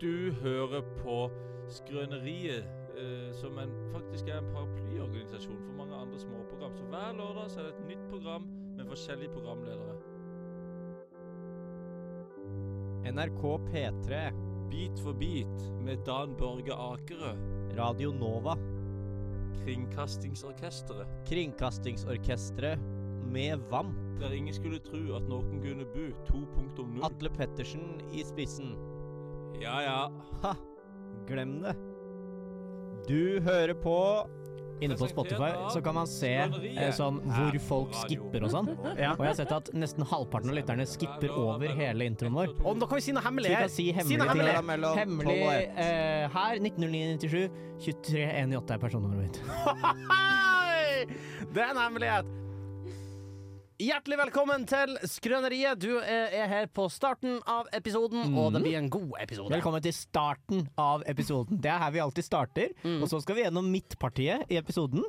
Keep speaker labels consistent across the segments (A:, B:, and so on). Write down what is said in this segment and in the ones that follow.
A: Du hører på Skrøneriet, eh, som en, faktisk er en paraplyorganisasjon for mange andre småprogram. Så hver lørdag så er det et nytt program med forskjellige programledere.
B: NRK P3,
A: Bit for bit med Dan Børge Akerø,
B: Radio Nova,
A: Kringkastingsorkesteret.
B: Kringkastingsorkestret med VAMP,
A: Der ingen skulle tro at noen kunne bo 2.0.
B: Atle Pettersen i spissen.
A: Ja ja.
B: Ha! Glem det. Du hører på
C: Inne på Spotify så kan man se eh, sånn hvor folk skipper og sånn.
B: Ja.
C: Og jeg har sett at nesten halvparten av lytterne skipper over hele introen vår.
B: Å, nå kan vi si noe
C: Så
B: hemmelig
C: vi
B: her!
C: kan si
B: Si noe
C: hemmelig
B: hemmelig, da,
C: ting.
B: mellom
C: Hemmelig
B: tolv og ett.
C: eh, her. 1909-97. 23-198 er personnummeret mitt.
B: Hei! Det er en hemmelighet. Hjertelig velkommen til Skrøneriet. Du eh, er her på starten av episoden, og det blir en god episode.
C: Velkommen til starten av episoden. Det er her vi alltid starter.
B: Mm.
C: Og så skal vi gjennom midtpartiet i episoden.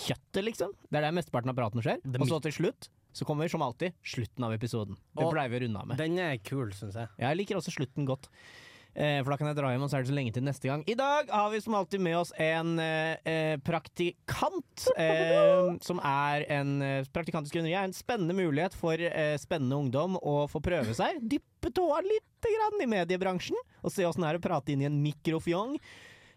C: Kjøttet, liksom. Det er der mesteparten av praten skjer. Og så til slutt så kommer som alltid slutten av episoden. Det
B: Og-
C: pleier vi å runde av med.
B: Den er kul, syns jeg.
C: Jeg liker også slutten godt. Eh, for da kan jeg dra hjem, og så er det så lenge til neste gang. I dag har vi som alltid med oss en eh, eh, praktikant. Eh, som er en eh, praktikant i skrøneriet. Er en spennende mulighet for eh, spennende ungdom å få prøve seg. Dyppe tåa lite grann i mediebransjen, og se åssen det er å prate inn i en mikrofjong.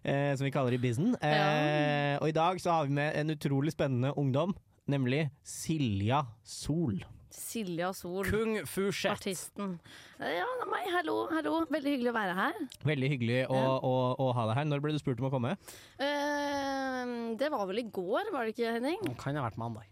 C: Eh, som vi kaller det i bizen. Eh, og i dag så har vi med en utrolig spennende ungdom, nemlig Silja Sol.
D: Silja Sol,
B: Kung fu shit.
D: artisten. Eh, Ja, det er meg. Hallo, hallo. Veldig hyggelig å være her.
C: Veldig hyggelig å, å, å ha deg her. Når ble du spurt om å komme?
D: Eh, det var vel i går, var det ikke, Henning?
B: Det kan ha vært mandag.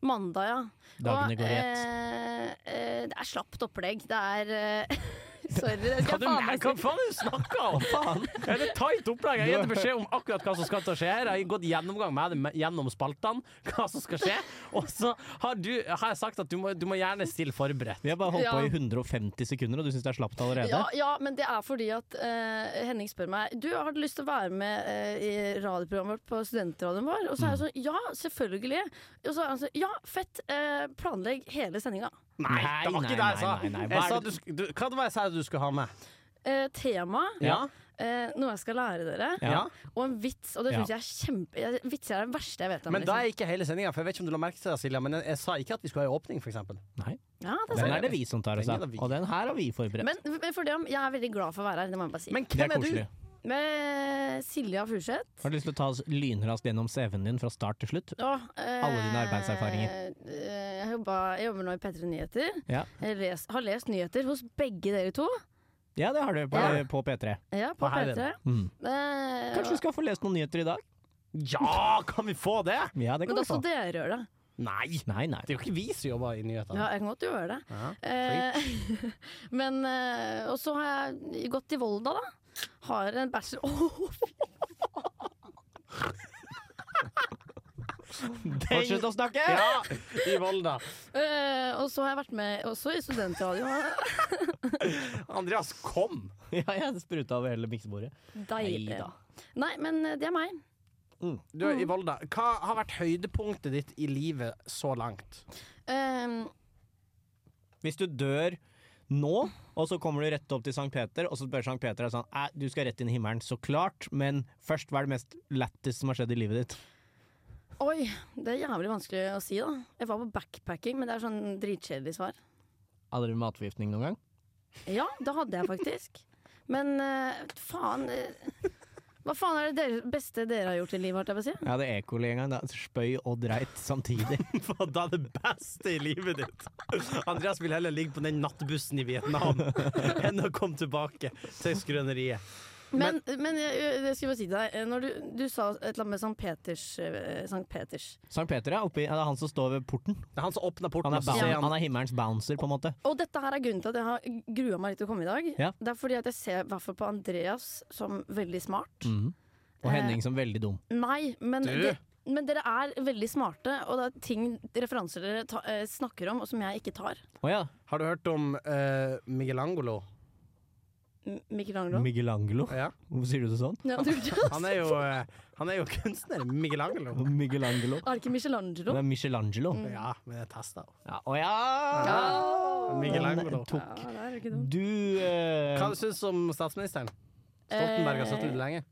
D: Mandag, ja.
C: Dagene
D: Og,
C: går i ett.
D: eh, eh, det er slapt opplegg. Det er eh, Sorry, det
B: Hva,
D: skal jeg
B: du,
D: faen
B: nei,
D: meg
C: altså.
B: hva faen er det
D: si.
B: du snakker om?
C: Faen!
B: Det er et tight opplegg. Jeg har gitt beskjed om akkurat hva som skal til å skje her. Jeg har gått gjennomgang med det gjennom spaltene, hva som skal skje. Og så har, du, har jeg sagt at du må, du må gjerne stille forberedt.
C: Vi har bare holdt på i
D: Ja.
C: 150 sekunder, og du syns det er slapt allerede?
D: Ja, ja, men det er fordi at eh, Henning spør meg Du har du lyst til å være med eh, i radioprogrammet vårt på studentradioen vår. Og så
C: Mm.
D: er jeg sånn Ja, selvfølgelig. Og så er han sånn Ja, fett. eh, planlegg hele sendinga.
B: Nei, det var
C: nei,
B: ikke det jeg sa.
C: nei, nei, nei. Hva
B: Jeg
C: er
B: sa
C: det-
B: du, sk- du, hva var det jeg sa du skulle ha med?
D: Eh, tema.
B: Ja?
D: Eh, noe jeg skal lære dere.
B: ja.
D: Og en vits, og det
C: Ja.
D: syns jeg er kjempe jeg- Vitser er det verste jeg vet om.
B: Men da
D: liksom.
B: er ikke hele sendinga, for jeg vet ikke om du la merke til det, Silja, men jeg, jeg sa ikke at vi skulle ha en åpning, for eksempel.
C: Nei.
D: ja,
C: Den
D: det er sant.
C: er det vi som tar oss
B: Den
C: av,
B: er det vi.
C: og den her har vi forberedt.
D: Men, men for det om, jeg er veldig glad for å være her, det må jeg bare si.
B: Men
C: det er
B: hvem er,
C: koselig.
B: du?
D: Med Silja Furseth.
C: Har du lyst til å ta oss lynraskt gjennom CV-en din fra start til slutt?
D: og, eh,
C: Alle dine arbeidserfaringer.
D: eh, Jeg, jobba- jeg jobber nå i P3 Nyheter.
C: Ja,
D: Jeg les, har lest nyheter hos begge dere to.
C: ja det har du på,
D: Ja.
C: på P3.
D: Ja, på
B: Og her er
D: P3.
C: Mm.
D: Eh,
C: Kanskje du skal få lest noen nyheter i dag?
B: Ja, kan vi få det?
C: Ja, det altså? kan
D: men da
C: du få.
D: skal dere gjøre det.
B: Nei.
C: Nei, nei.
B: Det er jo ikke vi som jobber i nyhetene.
D: Ja, jeg kan godt gjøre det.
B: Ja.
D: Eh, men eh, Og så har jeg gått til Volda, da. Har en bachelor Åh,
C: Fortsett å snakke!
B: Ja, i Volda.
D: Eh, og så har jeg vært med også i studentradio.
B: Andreas, kom!
C: Ja, jeg spruta over hele miksebordet.
D: Deilig.
C: Neida.
D: Nei, men eh, det er meg.
B: Du er i Volda. Hva har vært høydepunktet ditt i livet så langt?
D: Eh,
C: Hvis du dør nå, og så kommer du rett opp til Sankt Peter, og så spør Sankt Peter deg sånn Æ, du skal rett inn i himmelen, så klart, men først, hva er det mest lættis som har skjedd i livet ditt?
D: oi, det er jævlig vanskelig å si, da. Jeg var på backpacking, men det er sånn dritkjedelig svar.
C: Hadde du matforgiftning noen gang?
D: Ja, det hadde jeg faktisk. Men eh, faen eh, Hva faen er det dere, beste dere har gjort i livet, holdt jeg på å si?
C: Jeg hadde E. coli en gang. Da. Spøy og dreit samtidig.
B: Hva da er det beste i livet ditt? Andreas vil heller ligge på den nattbussen i Vietnam enn å komme tilbake til skrøneriet.
D: Men, men jeg, jeg skulle bare si til deg, eh, når du, du sa et eller annet med Sankt Peters, eh, Sankt Peters.
C: Sankt Peter er, oppi, ja, det er han som står ved porten.
B: Det er han som åpner porten,
C: Han er,
B: og så
C: boun-
B: sier han
C: han er himmelens bouncer, på en måte.
D: Og dette her er grunnen til at jeg har grua meg litt til å komme i dag.
C: Ja.
D: Det er fordi at jeg ser i hvert fall på Andreas som veldig smart.
E: Eh.
D: Eh,
C: Og Henning som veldig dum.
D: Nei, men,
B: Du!
D: de, men dere er veldig smarte, og det er ting, referanser dere ta, eh, snakker om, og som jeg ikke tar.
C: Å ja.
B: Har du hørt om eh, Michelangelo?
D: M- Michelangelo.
E: Miguelangelo?
B: Ja.
E: Hvorfor sier du det sånn?
D: Ja, du,
B: Han er jo, eh, han er jo kunstner. Michelangelo.
E: Miguelangelo.
D: er det ikke Michelangelo?
E: Det er Michelangelo.
B: Ja, men jeg testa henne.
E: Ja, å Mm. ja!
D: Ja.
B: Michelangelo.
E: Den tok
D: Ja, det er ikke dumt.
E: du eh,
B: Hva syns du om statsministeren? Stoltenberg har sittet litt lenge.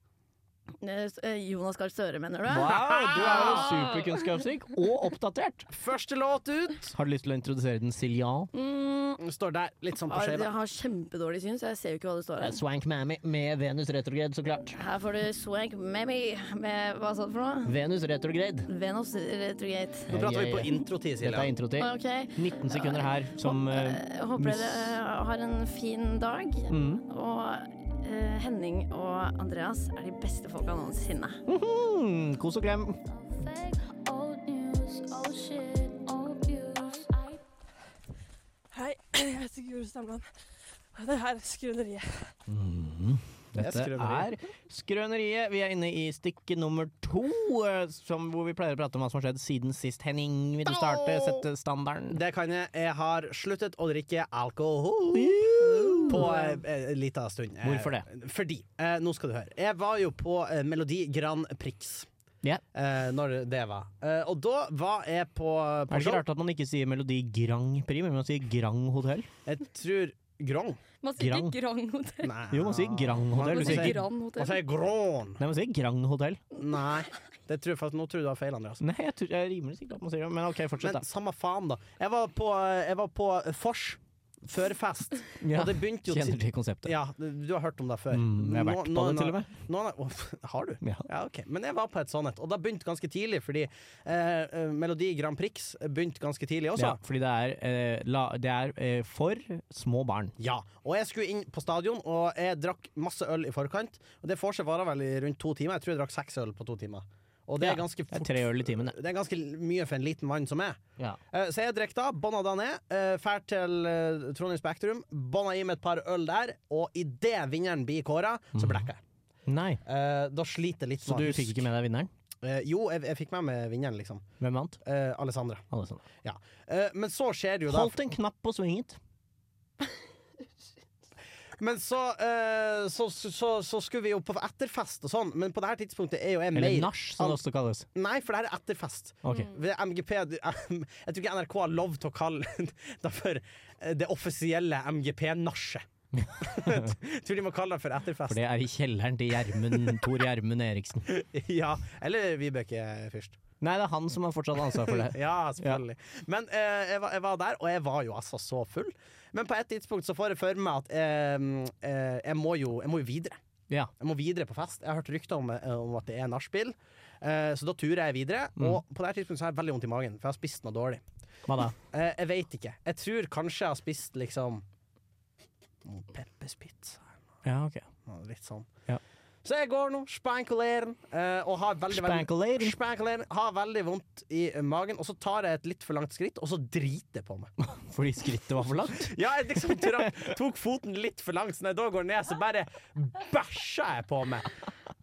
D: Eh, s- eh, Jonas Gahr Støre, mener du?
E: Wow, du er jo
B: Ah!
E: superkunnskapsrik og oppdatert.
B: Første låt ut
E: Har du lyst til å introdusere den Siljan?
D: Mm, altså,
B: står der, litt sånn på
D: jeg
B: skjeva.
D: har kjempedårlig syn, så jeg ser jo ikke hva det står her.
E: Eh, Swank Mammy med Venus retrograde, så klart.
D: Her får du Swank Mammy med Hva sa du for noe?
E: Venus retrograde.
D: Venus Retrogate.
B: Nå prater vi på
E: Jeg-
B: introtid,
E: Dette er
B: Silje.
E: introtid.
D: Ah, Ok.
E: 19 sekunder her som eh,
D: Jeg håper
E: miss-
D: dere eh, har en fin dag.
E: mm.
D: Og eh, Henning og Andreas er de beste folka noensinne.
E: Mhm, Kos og klem.
F: Fake old news, old shit, old views. I
G: Hei, jeg heter Guro Stamland. Og det her er Skrøneriet.
E: Mhm. Dette
B: Det er
E: er
B: skrøneriet.
E: Skrøneriet. Vi er inne i stikk nummer to, eh, som, hvor vi pleier å prate om hva som har skjedd siden sist. Henning, vil du starte? Sette standarden.
B: Det kan jeg. Jeg har sluttet å drikke alkohol på eh, en liten stund. Eh,
E: Hvorfor
B: Fordi. Eh, nå skal du høre. Jeg var jo på eh, Melodi Grand Prix.
E: Ja.
B: Eh, når det var. Eh, og da var jeg på,
E: Er
B: på
E: det ikke rart at man ikke sier Melodi Grand Prix, men man sier Grand Hotell?
B: Jeg tror Grand.
D: Man
E: sier ikke Grand.
D: Grand Hotell.
B: Nei.
E: Jo, man sier Grand Hotell. Du
B: Man
E: sier
B: sier
E: ikke
B: Man sier Grand.
E: Nei, man sier Grand Hotell.
B: Nei. Det tror jeg faktisk, nå tror jeg du har feil, Andreas.
E: Nei, jeg, tror, jeg er rimelig sikker på at man sier det, men OK, fortsett,
B: Men
E: da.
B: samme faen, da. Jeg var på, eh, jeg var på Fors. Førfest.
E: Ja,
B: Og det begynte jo
E: Kjenner
B: til
E: til konseptet.
B: ja, du har hørt om det før.
E: Mm, jeg har vært på
B: Noen-
E: det, til og med.
B: noen- noen- har du?
E: Ja.
B: Ja, ok. Men jeg var på et sånt et, og det begynte ganske tidlig, fordi eh, eh, Melodi Grand Prix begynte ganske tidlig også.
E: Ja, fordi det er, eh, la, det er eh, for små barn.
B: Ja, og jeg skulle inn på stadion, og jeg drakk masse øl i forkant. Og det får seg vare vel i rundt to timer. Jeg tror jeg drakk seks øl på to timer. Og det
E: Ja,
B: er ganske
E: Det er
B: fort.
E: tre øl i timen, det.
B: Det er ganske mye for en liten mann som meg.
E: Ja.
B: Eh, Så jeg drakk da, bånda da ned, eh, fær til eh, Trondheim Spektrum, bånda i meg et par øl der, og idet vinneren blir kåra, så
E: Mm.
B: blekka jeg.
E: Nei,
B: Eh, Da sliter jeg litt Eh,
E: så du fikk ikke med deg vinneren?
B: Jo, jeg, jeg fikk med meg vinneren, liksom.
E: Hvem vant?
B: Eh, Alessandra.
E: Alexander.
B: Ja. Eh, Men så skjer det jo da
E: Holdt en knapp på svinget.
B: Men så, eh, så, så, så, så skulle vi jo på etterfest og sånn, men på det her tidspunktet er jo jeg
E: Eller
B: mer
E: nach, som det også kalles.
B: Nei, for det her er etterfest.
E: Ok.
B: Ved MGP eh, Jeg tror ikke NRK har lov til å kalle det for eh, det offisielle MGP-nachet. Jeg tror de må kalle det for etterfest.
E: For det er i kjelleren til Gjermund Tor Gjermund Eriksen.
B: Ja, Eller Vibeke Fyrst.
E: Nei, det er han som har fortsatt ansvar for det.
B: Ja, selvfølgelig. Men eh, jeg, var, jeg var der, og jeg var jo altså så full. Men på et tidspunkt så får jeg for meg at eh, eh, jeg, må jo, jeg må jo videre.
E: Ja.
B: Jeg må videre på fest. Jeg har hørt rykter om, eh, om at det er nachspiel. Eh, så da turer jeg videre.
E: Mm.
B: Og på det her tidspunktet så har jeg veldig vondt i magen, for jeg har spist noe dårlig.
E: Hva da?
B: Eh, jeg veit ikke. Jeg tror kanskje jeg har spist liksom noe Peppers pizza.
E: Ja, ok.
B: noe Litt sånn.
E: Ja.
B: Så jeg går nå, spankulerer, eh, og har veldig, veldig
E: Spankulering.
B: Spankulerer, har veldig vondt i eh, magen, og så tar jeg et litt for langt skritt, og så driter jeg på meg.
E: Fordi skrittet var for langt?
B: Ja, jeg liksom trakk, tok foten litt for langt, så når jeg da går ned, så bare bæsja jeg på meg.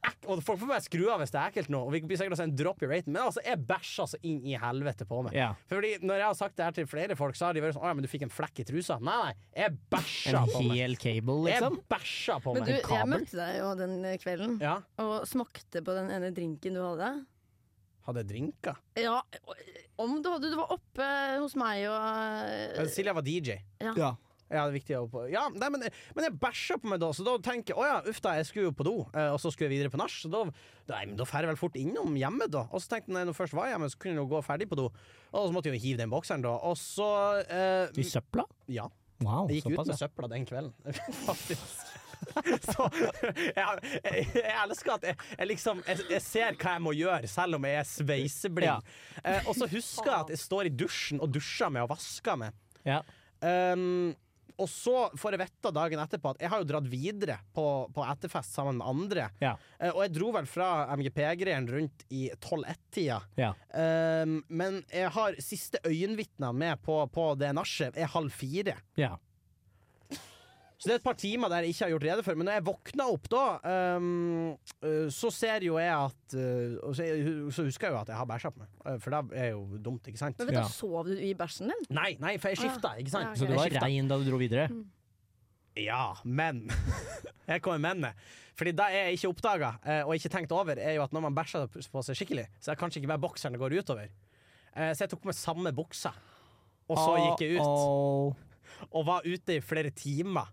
B: Ek- Og Folk får bare skru av hvis det er ekkelt nå, og vi blir sikkert også en drop i raten, men altså, jeg bæsja så inn i helvete på meg.
E: Ja.
B: Fordi når jeg har sagt det her til flere folk, så har de vært sånn Å ja, men du fikk en flekk i trusa. Nei, nei, jeg bæsja
E: En
B: på meg.
E: hel cable, liksom?
B: Jeg bæsja på
D: Men
B: meg.
D: du, jeg
E: kabel.
D: møtte deg jo den eh, kvelden
B: Ja.
D: og smakte på den ene drinken du hadde.
B: Hadde jeg drinka?
D: Ja, om du hadde Du var oppe hos meg og eh,
B: Men Silja var DJ.
E: Ja.
B: Ja, det er viktig å på. Ja, nei, men, men jeg bæsja på meg da, så da tenker jeg å ja, uff da, jeg skulle jo på do, eh, og så skulle jeg videre på nach, så da Nei, men da drar jeg vel fort innom hjemme, da. Og så tenkte jeg når jeg først var hjemme, så kunne jeg jo gå ferdig på do. Og så måtte jeg jo hive den bokseren, da. Og så eh,
E: I søpla?
B: Ja.
E: Wow,
B: Jeg gikk ut
E: såpass,
B: med
E: ja.
B: søpla den kvelden, faktisk. Så jeg, jeg, jeg elsker at jeg, jeg liksom jeg, jeg ser hva jeg må gjøre, selv om jeg er
E: Ja.
B: sveiseblind. Eh, og så husker jeg at jeg står i dusjen og dusjer meg og vasker meg.
E: ja.
B: Um, og så får jeg vite dagen etterpå at jeg har jo dratt videre på, på etterfest sammen med andre.
E: Ja.
B: Eh, og jeg dro vel fra MGP-greien rundt i 12-1-tida.
E: Ja.
B: Um, men jeg har siste øyenvitner med på, på det nachet, er halv fire.
E: ja.
B: Så det er et par timer der jeg ikke har gjort rede for. Men når jeg våkna opp da, um, eh, så ser jo jeg at eh, og så, så husker jeg jo at jeg har bæsja på meg. Eh, For det er jo dumt, ikke sant?
D: Men vet du,
E: Ja.
D: sov du i bæsjen din?
B: Nei, nei, for jeg skifta, ikke sant?
D: Ja, ok.
E: Så du
B: Jeg
E: var
B: skifta.
E: rein da du dro videre?
B: Ja, men Her kommer mennet. Fordi det jeg ikke oppdaga og ikke tenkt over, er jo at når man bæsjer på seg skikkelig, så er det kanskje ikke bare bokseren det går utover. Eh, Så jeg tok med samme buksa, og så gikk jeg ut.
E: Åh,
B: Og var ute i flere timer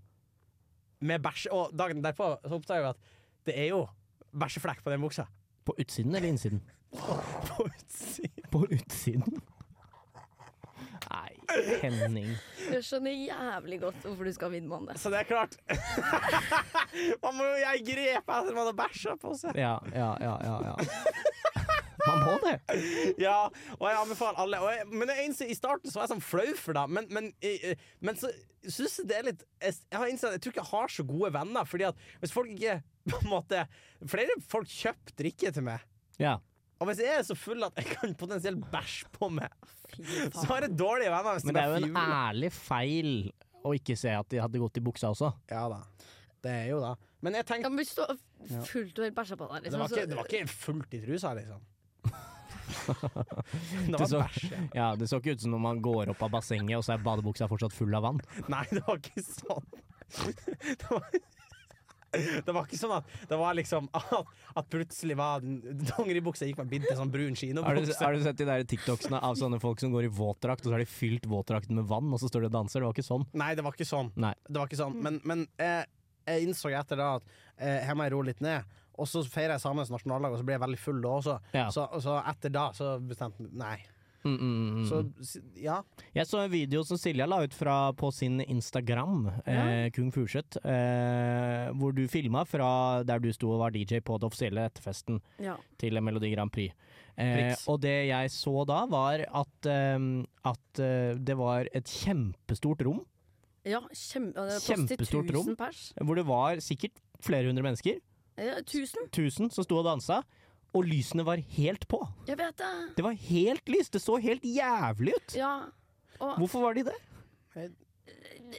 B: med bæsj. Og dagen derpå så oppdaga jeg at det er jo bæsjeflekk på den buksa.
E: På utsiden eller innsiden?
B: På utsiden.
E: På utsiden. Nei, Henning.
D: Jeg skjønner jævlig godt hvorfor du skal vinne med det.
B: Så det er klart. man må jo jeg grep etter man har bæsja på seg.
E: Ja, ja, ja. ja, ja. Man må det.
B: Ja, og jeg anbefaler alle. Og jeg, men jeg innser, I starten så var jeg sånn flau for det, men, men, eh, men så syns jeg det er litt Jeg, jeg har innsett at jeg tror ikke jeg har så gode venner, Fordi at hvis folk ikke på en måte Flere folk kjøper drikke til meg.
E: Ja.
B: Og hvis jeg er så full at jeg kan potensielt bæsje på meg,
D: Fy
B: så
D: faen.
B: har jeg dårlige venner. Hvis
E: Men det er jo en
B: bare fjuler.
E: ærlig feil å ikke se at de hadde gått i buksa også.
B: Ja da. Det er jo da. Men jeg
D: Ja,
B: tenkte
D: men hvis du har fullt og helt bæsja på deg
B: det
D: liksom,
B: var, ikke,
D: så-
B: det var ikke fullt i trusa, liksom. det
E: Det
B: var
E: så,
B: bæsj. ja.
E: ja, det så ikke ut som når man går opp av bassenget, og så er badebuksa fortsatt full av vann.
B: Nei, det var ikke sånn. Det var, det var ikke sånn at det var liksom at, at plutselig var den- dongeribuksa gikk med bind til sånn brun
E: Har du,
B: kinobukse.
E: har du sett de der TikToksene av sånne folk som går i våtdrakt, og så har de fylt våtdrakten med vann, og så står de og danser? Det var ikke sånn.
B: Nei, det var ikke sånn.
E: Nei.
B: Det var ikke sånn. Men, men eh, jeg innså etter det at eh, her må jeg roe litt ned. Og så feirer jeg samenes nasjonaldag, og så ble jeg veldig full da også.
E: Ja.
B: Så, så etter da så bestemte jeg Nei.
E: Mm, mm, mm.
B: Så si- ja.
E: Jeg så en video som Silja la ut fra, på sin Instagram, eh, Kung Furseth, eh, hvor du filma fra der du sto og var DJ på det offisielle etterfesten
D: ja.
E: til Melodi Grand Prix. Eh,
B: Prix.
E: og det jeg så da, var at, eh, at eh, det var et kjempestort rom,
D: ja kjempe, det er plass til
E: Kjempestort rom.
D: 1000 Pers.
E: hvor det var sikkert flere hundre mennesker,
D: Ja, 1000?
E: tusen, som sto og dansa, og lysene var helt på.
D: Jeg vet det.
E: Det var helt lyst, det så helt jævlig ut.
D: Ja. Og
E: Hvorfor var de det?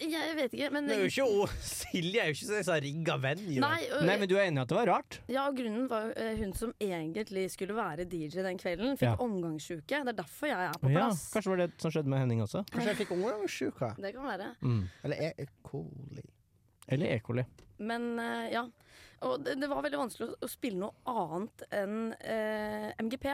D: jeg vet ikke, men
B: Det er jo ikke o- Silje er jo ikke sånn som rigga venue.
D: Nei, og-
E: Nei, men du er enig i at det var rart?
D: Ja, og grunnen var jo, eh, hun som egentlig skulle være DJ den kvelden, fikk
E: Ja.
D: omgangssjuke. Det er derfor jeg er på
E: Ja,
D: plass.
E: kanskje det var det som skjedde med Henning også?
B: Kanskje jeg fikk omgangssjuka.
D: Det kan være.
E: Mm.
B: Eller er coli.
E: Eller E. coli.
D: Men eh, ja. Og det, det var veldig vanskelig å, å spille noe annet enn eh, MGP.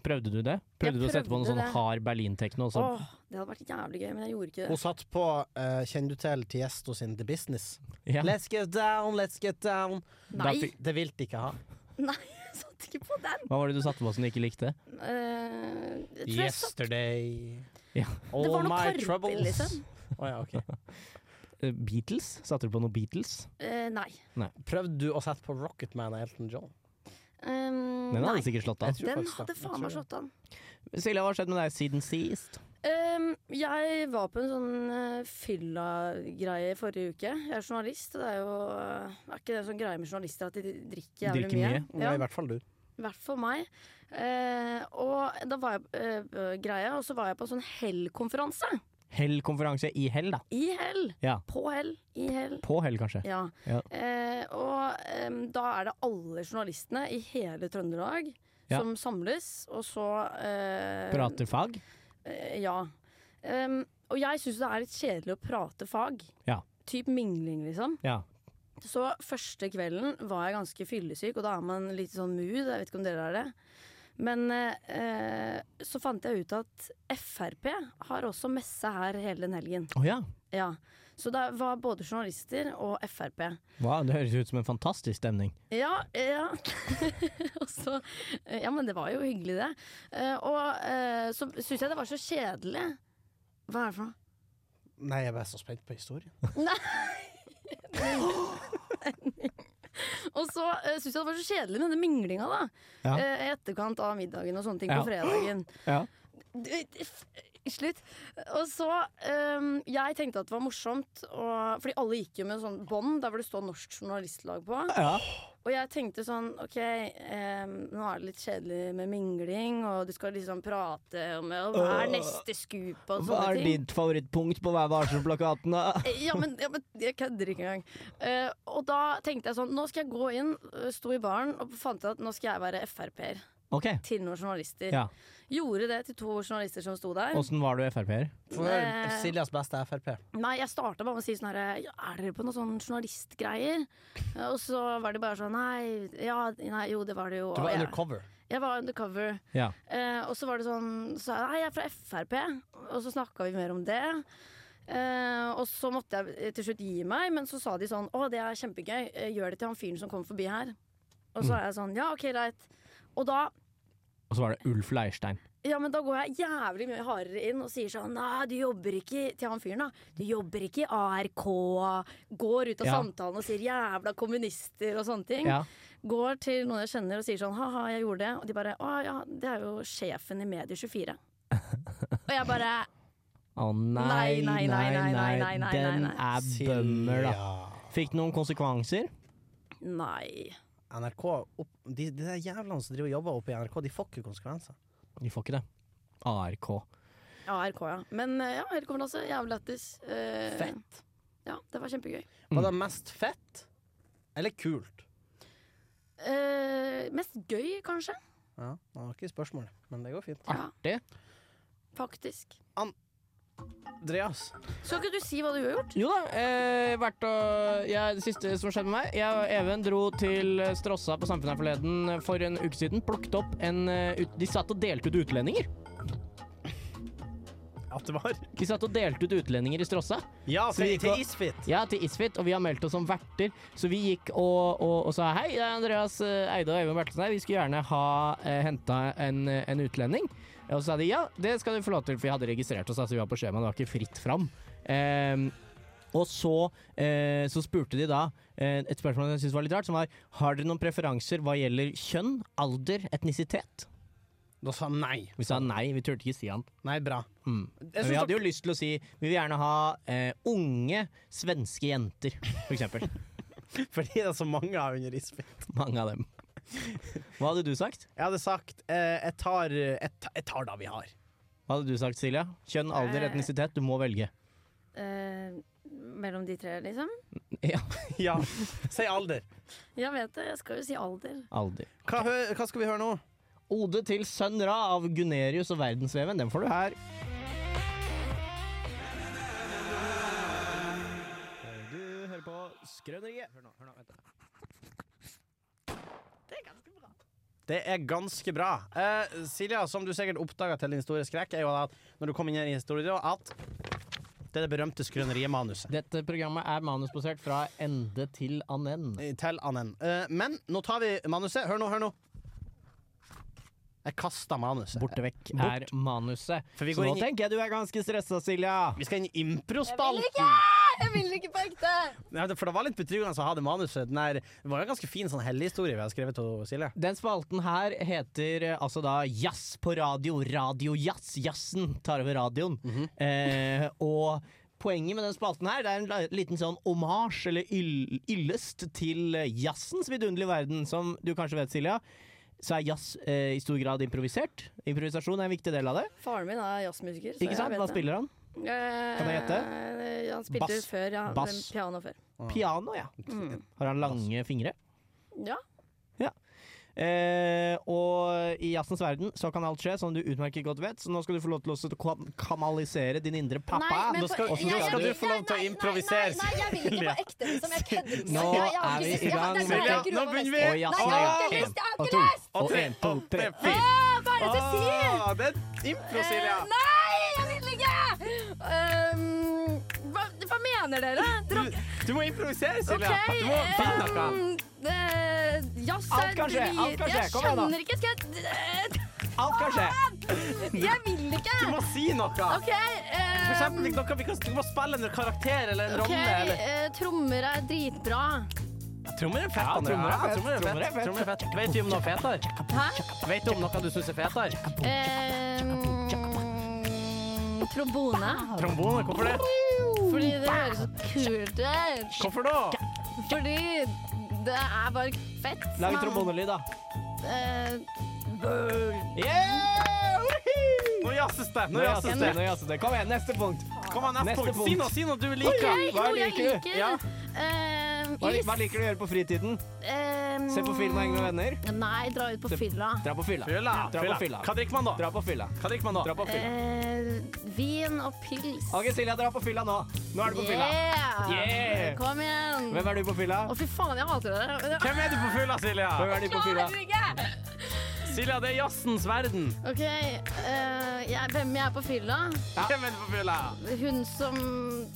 E: Prøvde du det? Prøvde du å sette på noe
D: prøvde
E: sånn
D: det.
E: hard berlintekno? og sånn? så-
D: Åh, det hadde vært jævlig gøy, men jeg gjorde ikke det.
B: Hun satt på eh, Kjenner du til Tiesto sin The Business?
E: Ja.
B: Let's get down, let's get down.
D: Nei,
E: fikk-
B: Det vil de ikke ha.
D: nei, jeg satt ikke på den!
E: Hva var det du satte på som du ikke likte?
D: Eh, jeg tror jeg satt
B: Yesterday.
E: Ja.
B: All
D: Det var noe
B: my
D: karpe,
B: troubles.
D: liksom.
B: Å ja, ok.
E: Eh, Beatles? Satte du på noe Beatles?
D: eh, Nei.
B: Prøvde du å sette på Rocket Man av Elton John?
D: Um,
E: Den hadde
D: nei.
E: sikkert slått av.
B: Jeg tror
D: Den
B: faktisk det.
D: hadde
B: Jeg tror
D: faen meg
B: det.
D: slått an.
E: Silja, hva har skjedd med deg siden sist?
D: Ehm, jeg var på en sånn eh, fylla-greie forrige uke. Jeg er journalist, og det er jo eh, Er ikke det en sånn greie med journalister at de drikker jævlig
E: Drikker
D: mye?
E: mye?
B: Ja,
D: Ja,
B: I hvert fall du.
D: I hvert fall meg. Eh, og da var jeg eh, greia, og så var jeg på en sånn Hell-konferanse.
E: Hell-konferanse i hell, da.
D: I Hell.
E: Ja.
D: På Hell. I Hell.
E: På hell, kanskje.
D: Ja.
E: Ja.
D: Eh, og em, da er det alle journalistene i hele Trøndelag
E: Ja.
D: som samles, og så eh,
E: Prater fag.
D: Eh, ja. Em, og jeg syns det er litt kjedelig å prate fag.
E: Ja.
D: Typ mingling, liksom.
E: Ja.
D: Så første kvelden var jeg ganske fyllesyk, og da er man litt sånn mood. Jeg vet ikke om dere er det. Men eh, eh, så fant jeg ut at Frp har også messe her hele den helgen.
E: Å ja.
D: Ja. Så det var både journalister og Frp.
E: Wow, det høres ut som en fantastisk stemning.
D: Ja, ja. og så, eh, ja, men det var jo hyggelig, det. Eh, og eh, så syns jeg det var så kjedelig. Hva er det for noe?
B: Nei, jeg er bare så spent på historien.
D: Og så uh, syns jeg det var så kjedelig med denne minglinga, da.
E: Ja.
D: Eh, I etterkant av middagen og sånne ting
E: Ja.
D: på fredagen.
E: Ja.
D: D- d- f- Slutt. Og så ehm, Jeg tenkte at det var morsomt, og, fordi alle gikk jo med sånn bånd der hvor det står Norsk Journalistlag på.
E: Ja.
D: Og jeg tenkte sånn OK, ehm, nå er det litt kjedelig med mingling, og du skal liksom prate om ja, hva er neste scoop
E: Hva
D: og sånne
E: er
D: ting.
E: ditt favorittpunkt på Vær varsom-plakaten, da?
D: Ja men, ja, men jeg kødder ikke engang. Eh, og da tenkte jeg sånn, nå skal jeg gå inn, eh, sto i baren og fant ut at nå skal jeg være Frp-er.
E: Ok.
D: til noen journalister.
E: Ja.
D: Gjorde det til to journalister som sto der.
E: Åssen var du Frp-er?
B: For
D: Eh.
B: Siljas beste Frp.
D: Nei, jeg starta bare med å si sånn herre ja, Er dere på noen sånn journalistgreier? Eh, Og så var det bare sånn Nei, ja, nei, jo, det var det jo.
B: Du var
D: Og jeg-
B: undercover.
D: Jeg var undercover.
E: Ja.
D: Eh, og så var det sånn så, jeg, Nei, jeg er fra Frp. Og så snakka vi mer om det. Eh, og så måtte jeg til slutt gi meg, men så sa de sånn Å, det er kjempegøy. Eh, Gjør det til han fyren som kom forbi her. Og
E: Mm.
D: så er jeg sånn Ja, OK, greit. Og da
E: Og så var det Ulf Leirstein.
D: ja, men da går jeg jævlig mye hardere inn og sier sånn Nei, du jobber ikke i- til han fyren, da. Du jobber ikke i ARK. Går ut av
E: Ja.
D: samtalen og sier jævla kommunister og sånne ting.
E: Ja.
D: Går til noen jeg kjenner og sier sånn ha-ha, jeg gjorde det. Og de bare å ja, det er jo sjefen i Medier24. og jeg bare
E: Å nei, nei, nei, nei, nei,
D: nei,
E: den
D: nei, nei.
E: er bømmer, da.
B: Silja.
E: Fikk det noen konsekvenser?
D: nei.
B: NRK opp, de, de der jævlene som driver og jobber oppe i NRK, de får ikke konsekvenser.
E: Vi får ikke det. ARK.
D: ARK, ja. Men eh, ja, helt konferanse. Jævlig lættis. Eh,
B: Fett.
D: Ja, det var kjempegøy.
B: Var det mest fett eller kult?
D: Eh, mest gøy, kanskje.
B: Ja, Det var ikke spørsmålet, men det går fint.
E: Artig.
D: Faktisk.
B: Andreas,
D: Skal ikke du si hva du har gjort?
E: Jo da. Eh, vært og, jeg, det siste som skjedde med meg Jeg og Even dro til Strossa på Samfunnet her forleden for en uke siden. Plukket opp en eh, ut, De satt og delte ut utlendinger.
B: at det var
E: De satt og delte ut utlendinger i Strossa.
B: Ja,
E: Så vi gikk
B: til,
E: og-
B: til Isfit!
E: Ja, til Isfit, og vi har meldt oss som verter. Så vi gikk og, og, og sa hei, det er Andreas eh, Eide og Even Bertelsen her. Vi skulle gjerne ha eh, henta en, en utlending. Og så sa de ja, det skal du få lov til, for vi hadde registrert oss. Altså, vi var på skjema, det var ikke fritt fram. Ehm, og så, eh, så spurte de da eh, et spørsmål jeg syntes var litt rart, som var har dere noen preferanser hva gjelder kjønn, alder, etnisitet?
B: Da sa han nei.
E: Vi sa nei, vi turte ikke si han.
B: Nei, bra.
E: Mm. Men
B: Jeg
E: vi
B: synes
E: hadde
B: dere-
E: jo lyst til å si vi vil gjerne ha eh, unge svenske jenter, for eksempel.
B: Fordi det er så mange av under Isfit.
E: Mange av dem. Hva hadde du sagt?
B: Jeg hadde sagt eh, jeg, tar, jeg, ta- jeg tar da vi har.
E: Hva hadde du sagt, Silja? Kjønn, alder,
D: Eh.
E: etnisitet. Du må velge.
D: Eh, mellom de tre, liksom?
E: Ja,
B: Ja. Si alder.
D: Jeg vet det, jeg skal jo si alder.
E: alder.
B: Hva, hø hva skal vi høre nå?
E: Ode til Sønn Ra av Gunerius og Verdensveven. Den får du her. Du hører på Skrøneriet. Hør nå, hør nå. Vent.
B: Det er ganske bra. Eh, Silja, som du sikkert oppdaga til din store skrekk, er jo at når du kom inn her i historien, at det er det berømte skrøneriemanuset.
E: Dette programmet er manusbasert fra ende til annen.
B: til annen. Eh, men nå tar vi manuset. Hør nå, hør nå. Jeg kasta manuset.
E: Borte vekk
B: Bort.
E: er sånn manuset.
B: For vi
E: Så
B: går
E: nå
B: inn i-
E: tenker jeg du er ganske stressa, Silja.
B: Vi skal inn i improspalten.
D: Jeg vil ikke på ekte!
B: Nei, det- For det var litt betryggende å ha det manuset. Den her- det var jo en ganske fin sånn hellighistorie vi har skrevet til Silje.
E: Den spalten her heter eh, altså da Jazz på radio, radio jazz. Jazzen tar over radioen.
D: Mhm.
E: eh, og poenget med den spalten her, det er en la- liten sånn omasj eller yll yllest til eh, jazzens vidunderlige verden. Som du kanskje vet, Silja, så er jazz eh, i stor grad improvisert. Improvisasjon er en viktig del av det.
D: Faren min er jazzmusiker. så
E: Ikke sant?
D: jeg
E: Hva
D: vet det.
E: spiller han?
D: Eh,
E: Kan jeg gjette?
D: eh, Han spilte
E: Bass.
D: før, ja.
E: Bass.
D: Piano før.
E: Piano, ja.
D: Mm.
E: Har han lange fingre?
D: Ja.
E: Eh, og i jazzens verden så kan alt skje, som du utmerket godt vet. Så nå skal du få lov til å også ka- kanalisere din indre pappa.
B: men- nå skal-
E: nå skal
B: du få lov til å improvisere.
H: Nei, nei, jeg vil ikke på ekte, liksom. Jeg kødder. Jeg-
E: Nå
H: jeg har
E: er vi
H: ikke
E: i
H: lyst- jeg har-
E: gang
H: det er
E: med-
H: sånn jeg gruer
B: Nå
H: meg
B: begynner
H: nesten.
B: vi.
E: Og jazz,
H: Nei, jeg har ikke
E: ja.
H: lyst! Jeg har
E: Og
H: ikke
E: to.
H: lyst!
E: Og en, to, tre, fire.
H: Åh, Hva er det du sier?
B: Ah, det er impro,
D: Eh,
B: Silja.
H: Nei, jeg vil ikke!
D: Ehm, hva, hva mener dere? Dere
B: Du, du må improvisere, Silja.
D: Ok,
B: Du må finne noe.
D: ehm, eh, jazz er
E: Alt kan skje, alt kan skje.
D: Jeg
E: Kom igjen da.
D: skjønner ikke. Skal jeg
E: Alt kan skje.
D: Jeg vil ikke!
B: Du må si noe.
D: OK. ehm,
B: For eksempel, noe vi kan, du må spille en karakter eller en
D: ok,
B: rolle. Eller.
D: eh, trommer er dritbra.
B: Trommer er fett.
E: Ja,
B: Andrea.
E: trommer er fett,
B: Trommer
E: trommer er fett.
B: Trommer er fett. Vet du om noe fetere?
D: Hæ?
B: Vet du om noe du syns er fetere?
D: Ehm, trombone.
B: Trombone, hvorfor det?
D: Fordi det høres så kult ut.
B: Hvorfor da?
D: Fordi det er bare fett.
E: Lag
D: Man-
E: trombonelyd, da.
D: Eh,
E: Yeah! Woohoo!
B: Nå jazzes det.
E: Nå jazzes det. nå jazzes det. Kom igjen, neste punkt.
B: Kom an,
E: Neste
B: neste punkt.
E: punkt.
B: Si noe, si noe du liker.
D: ok,
E: Hva
D: noe jeg
E: liker du?
D: liker.
B: Ja.
D: Ehm,
E: Hva,
D: is.
E: hva liker du å gjøre på fritiden?
D: Ehm, eh,
E: Se på film og henge med venner.
D: Nei, dra ut på
E: Se-
D: fylla.
E: Dra på fylla.
B: Fylla,
E: Dra på fylla.
B: Hva drikker man da?
E: Dra på fylla.
B: Hva drikker man da?
E: Dra på fylla.
D: Eh, vin og pils.
E: Ok, Silja, dra på fylla nå. Nå er du på fylla.
D: Yeah!
E: Yeah!
D: Kom igjen.
E: Hvem er du på fylla?
D: Å, fy faen, jeg hater det. der.
B: Hvem er du på fylla, Silja?
E: Hvem er du på fylla?
B: Silja, det er jazzens verden.
D: OK, eh, jeg, hvem jeg er på fylla?
B: Hvem er du på fylla?
D: Hun som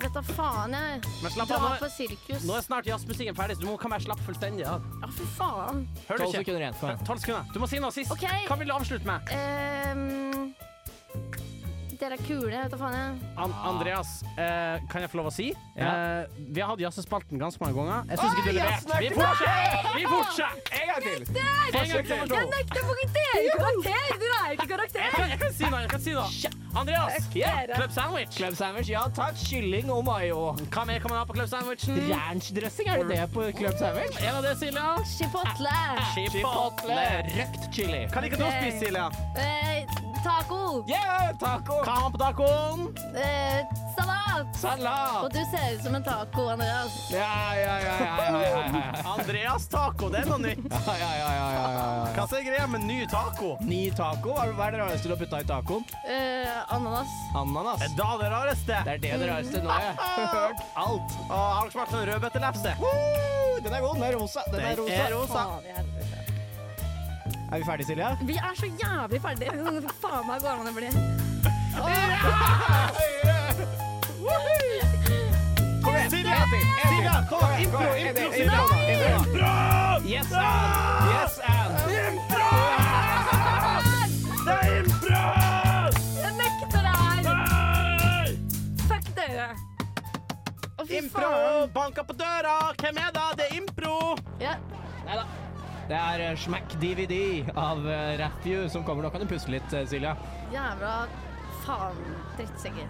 D: Vet da faen, jeg.
B: Men slapp av,
D: Dra
B: nå-
D: på sirkus.
B: Nå er snart jazzmusikken ferdig, så du må kan være slapp fullstendig. Ja.
D: Å, fy faen.
B: Hører
E: Tolv
B: du ikke?
E: sekunder igjen. Kom igjen.
B: Tolv sekunder. Du må si noe sist.
D: Ok.
B: Hva vil du avslutte med?
D: Ehm, dere er kule, vet da faen jeg.
B: An Andreas, eh, kan jeg få lov å si? Eh, vi har hatt jazzespalten ganske mange ganger. Jeg syns ikke du leverte. Vi fortsetter! Vi fortsetter!
E: En gang til!
B: Forsøk nummer to.
H: nekter karakter! Karakter! Du er ikke
B: Jeg
H: karakter!
B: kan, jeg kan si noe. jeg kan si noe. Andreas,
H: Ja.
B: club sandwich.
E: Club sandwich, ja takk. Kylling og mayo.
B: Hva mer kan man ha på club sandwichen?
E: Ranch-dressing, er det det på club sandwich?
B: En av det, Silja.
D: Chipotle.
E: Chipotle. Røkt chili.
B: Hva liker du å
D: Ok.
B: spise, Silja?
D: Eh, taco.
E: Yeah, taco.
B: Hva har man på tacoen?
D: Eh, salat. Og
E: Salat.
D: du ser ut som en taco, Andreas.
E: Ja, ja, ja, ja, ja, ja, ja, ja.
B: Andreas taco, det er noe nytt.
E: Ja, ja, ja, ja, ja, ja, ja.
B: Hva er greia med ny taco?
E: Ny taco. Hva er- Hva er det rareste du har putta i tacoen?
D: Eh, ananas.
E: Ananas.
B: Er da det rareste?
E: Det er det det rareste. Nå har jeg hørt alt.
B: Å, har dere smakt sånn rødbetelefse?
E: Woo! Den er god. Den er rosa. Den er
B: Den
E: rosa.
B: er rosa.
D: Faen i helvete.
E: Er vi ferdige, Silja?
D: Vi er så jævlig ferdige. Hvor Faen meg går det an å bli.
E: Kom igjen! Silja! Silja, kom igjen! Impro, impro, Silja! Impro! Yes, and! Yes, and!
H: Jeg nekter det her! Fuck dere!
D: Å, fy
B: Impro!
D: faen.
B: Banka på døra! Hvem er det? Det er impro!
D: Ja.
E: Det er eh, Smack DVD av eh, Rapview som kommer. Nå kan du puste litt, eh, Silja.
D: Jævla faen drittsekker.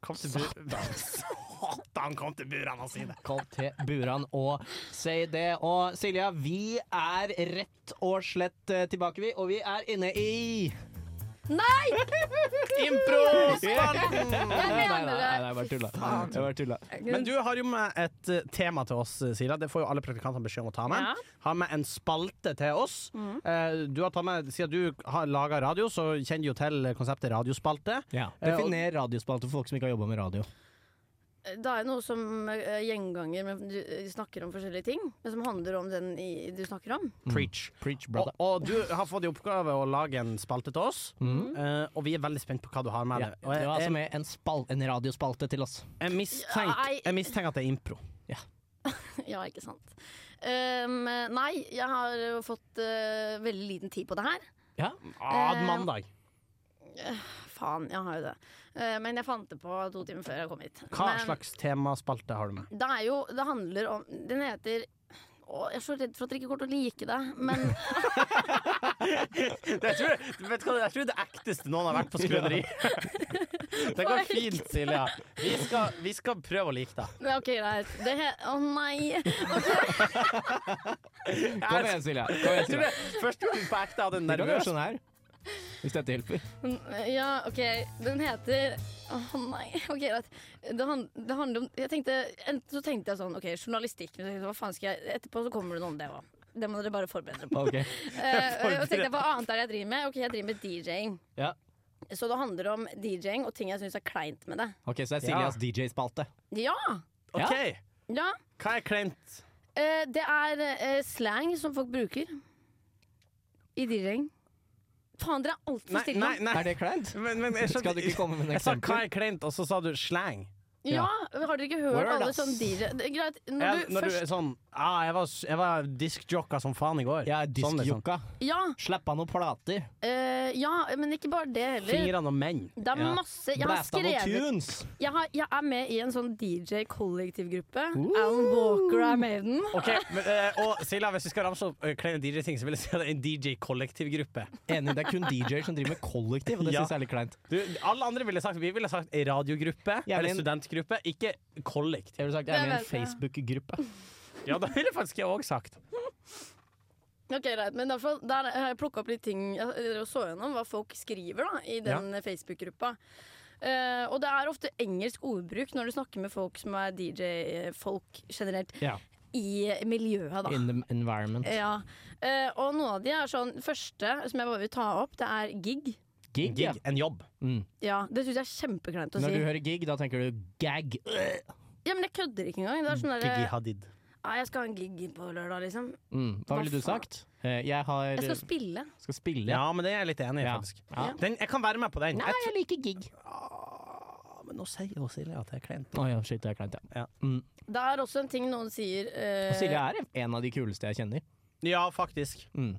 B: Kom til burene. Satan, kom til burene og si det.
E: Kom til Buran og si det. Og Silja, vi er rett og slett eh, tilbake, vi. Og vi er inne i
D: Nei!
B: Impro-spalten!
E: Nei, nei, nei,
D: mener
E: nei,
D: det.
E: nei, jeg bare tulla. Jeg bare tulla.
B: Men du har jo med et eh, tema til oss, Sila. Det får jo alle praktikantene beskjed om å ta med.
D: Ja.
B: Har med en spalte til oss.
D: Mm.
B: Eh, Du har tatt med, Siden du har laga radio, så kjenner du jo til konseptet radiospalte.
E: Ja.
B: Eh, og-
E: Definer radiospalte for folk som ikke har jobba med radio.
D: Det er jo noe som eh, gjenganger, men du eh, snakker om forskjellige ting. Men som handler om den i, du snakker om.
B: Preach.
E: Preach,
B: Og,
E: brother.
B: Mm. og du har fått i oppgave å lage en spalte til oss,
E: Mm.
B: eh, og vi er veldig spent på hva du har med
E: Ja,
B: deg. Og
E: det var altså
B: jeg, jeg,
E: med en, spal en radiospalte til oss.
B: jeg, mistenker,
D: Nei.
B: jeg mistenker at det er impro.
D: Ja, ikke sant. Um, nei, jeg har jo fått eh, veldig liten tid på det her.
B: Ah,
D: Eh,
B: mandag.
D: Faen, jeg har jo det. Eh, men jeg fant det på to timer før jeg kom hit.
B: Hva
D: men,
B: slags temaspalte har du med?
D: Det er jo Det handler om Den heter å, jeg er så redd for at dere ikke kommer til å like det, men
B: Jeg tror, vet du hva, jeg tror det ekteste noen har vært på skrøneri. Det går fint, Silja. Vi skal, vi skal prøve å like deg.
D: Nei, OK, greit. Det he... Å nei!
E: Kom igjen, Silja. Kom igjen,
B: Jeg tror
E: Silja.
B: det første gang på ekte jeg hadde en
E: Du kan gjøre
B: nervøs
E: sånn her. Hvis dette hjelper.
D: Ja, OK. Den heter Å nei. OK, greit. Det, han, det handler om Jeg tenkte Enten så tenkte jeg sånn OK, journalistikk. Men så tenkte jeg, hva faen skal jeg Etterpå så kommer det noe om det òg. Det må dere bare forberede dere på.
E: Ok.
D: Eh, og så tenkte jeg, Hva annet er det jeg driver med? Ok, jeg driver med DJ-ing.
E: Ja.
D: Så det handler om DJ-ing og ting jeg syns er kleint med det.
E: Ok, Så det er Siljas DJ-spalte.
D: Ja!
B: OK,
D: ja.
B: hva er kleint?
D: Eh, det er eh, slang som folk bruker i DJ-ing. Faen, dere er altfor
B: Nei,
D: stille.
B: nei, nei.
E: Er det kleint?
B: Men, men jeg
E: Skal du ikke komme med en
B: Jeg sa hva
E: eksempel?
B: er kleint, og så sa du slang.
D: Ja, Har dere ikke hørt
E: Word,
D: alle
E: ass.
D: sånn DJ det er Greit, når
B: Ja,
D: du
B: når du
D: først
B: er sånn ah, jeg, var, jeg var diskjocka som faen i går.
E: Jeg er
B: Sånn, liksom.
E: diskjokka.
D: ja,
E: Slapp av noen plater.
D: eh, ja, men ikke bare det heller.
B: Fingrene og menn.
D: Det er
E: Ja.
D: masse Jeg har
E: Blæst av noen
D: skrevet
E: tunes.
D: jeg, har, jeg er med i en sånn DJ-kollektivgruppe. Alan Walker er med i den.
B: Ok, men, eh, og Silja, hvis vi skal ramse opp eh, kleine DJ-ting, så vil jeg si at det er en DJ-kollektivgruppe.
E: Enig, det er kun DJ-er som driver med kollektiv, og det
B: Ja.
E: syns jeg er litt kleint.
B: Du, alle andre ville sagt Vi ville sagt radiogruppe
E: Ja,
B: eller
E: men-
B: studentgruppe, ikke kollektiv.
E: Jeg ville sagt jeg er med i en
D: Det er vel-
E: Facebook-gruppe.
B: Ja, det ville faktisk jeg òg sagt.
D: Ok, greit, men i hvert fall, Der har jeg plukka opp litt ting Jeg drev og så gjennom hva folk skriver da, i den Facebook-gruppa. Eh, og det er ofte engelsk ordbruk når du snakker med folk som er DJ-folk generelt
E: Ja.
D: i miljøet. da
E: In the environment.
D: Ja, eh, Og noen av de er sånn Første som jeg bare vil ta opp, det er gig.
E: Gig, ja.
B: Gig, en jobb.
E: Mm.
D: Ja, Det syns jeg er kjempekleint å
E: Når
D: si.
E: du hører gig, da tenker du gag.
D: Ja, Men jeg kødder ikke engang. Det er sånn
B: Gigi
D: derre
B: Hadid.
D: «Ah, Jeg skal ha en gig på lørdag, liksom.
E: Mm. Hva
D: Hva
E: ville du
D: faen?
E: sagt? Eh, Jeg har
D: Jeg skal spille.
E: skal spille.
B: Ja, men det er jeg litt enig i,
E: Ja.
B: faktisk.
E: Ja.
B: Den, jeg kan være med på den.
E: Nei,
B: Jeg
E: jeg liker gig.
B: tr- men nå sier jo Silje at det er kleint.
E: Å ja, shit, det er kleint, ja.
B: Ja.
E: Mm.
D: Det er også en ting noen sier eh,
E: Og Silje er en av de kuleste jeg kjenner.
B: Ja, faktisk.
E: Mm.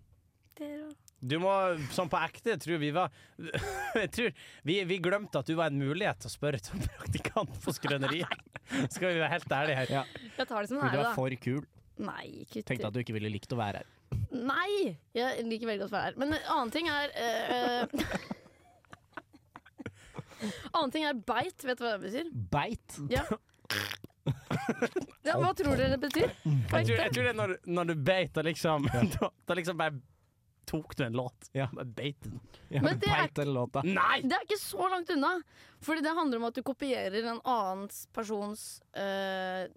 D: dere-
B: Du må, sånn på ekte, jeg tror vi var Jeg tror vi, vi glemte at du var en mulighet til å spørre som praktikant på skrøneriet. Skal vi være helt ærlige her.
E: Ja.
D: Jeg tar det som en
E: For du
D: ære,
E: er
D: da.
E: for kul.
D: Nei, kutt
E: Tenkte at du ikke ville likt å være her.
D: Nei! Jeg liker veldig godt å være her. Men en annen ting er eh, Annen ting er beit. Vet du hva det betyr?
E: Beit.
D: Ja. ja hva tror dere det betyr? På
B: Jeg tror,
D: ekte?
B: jeg tror det er når, når du beit, da liksom da, da liksom bare tok du en låt.
E: Ja.
B: Bare Beit den.
E: Ja,
D: Men det er Mm.
E: Beit den låta.
B: Nei!
D: Det er ikke så langt unna. Fordi det handler om at du kopierer en annens persons eh,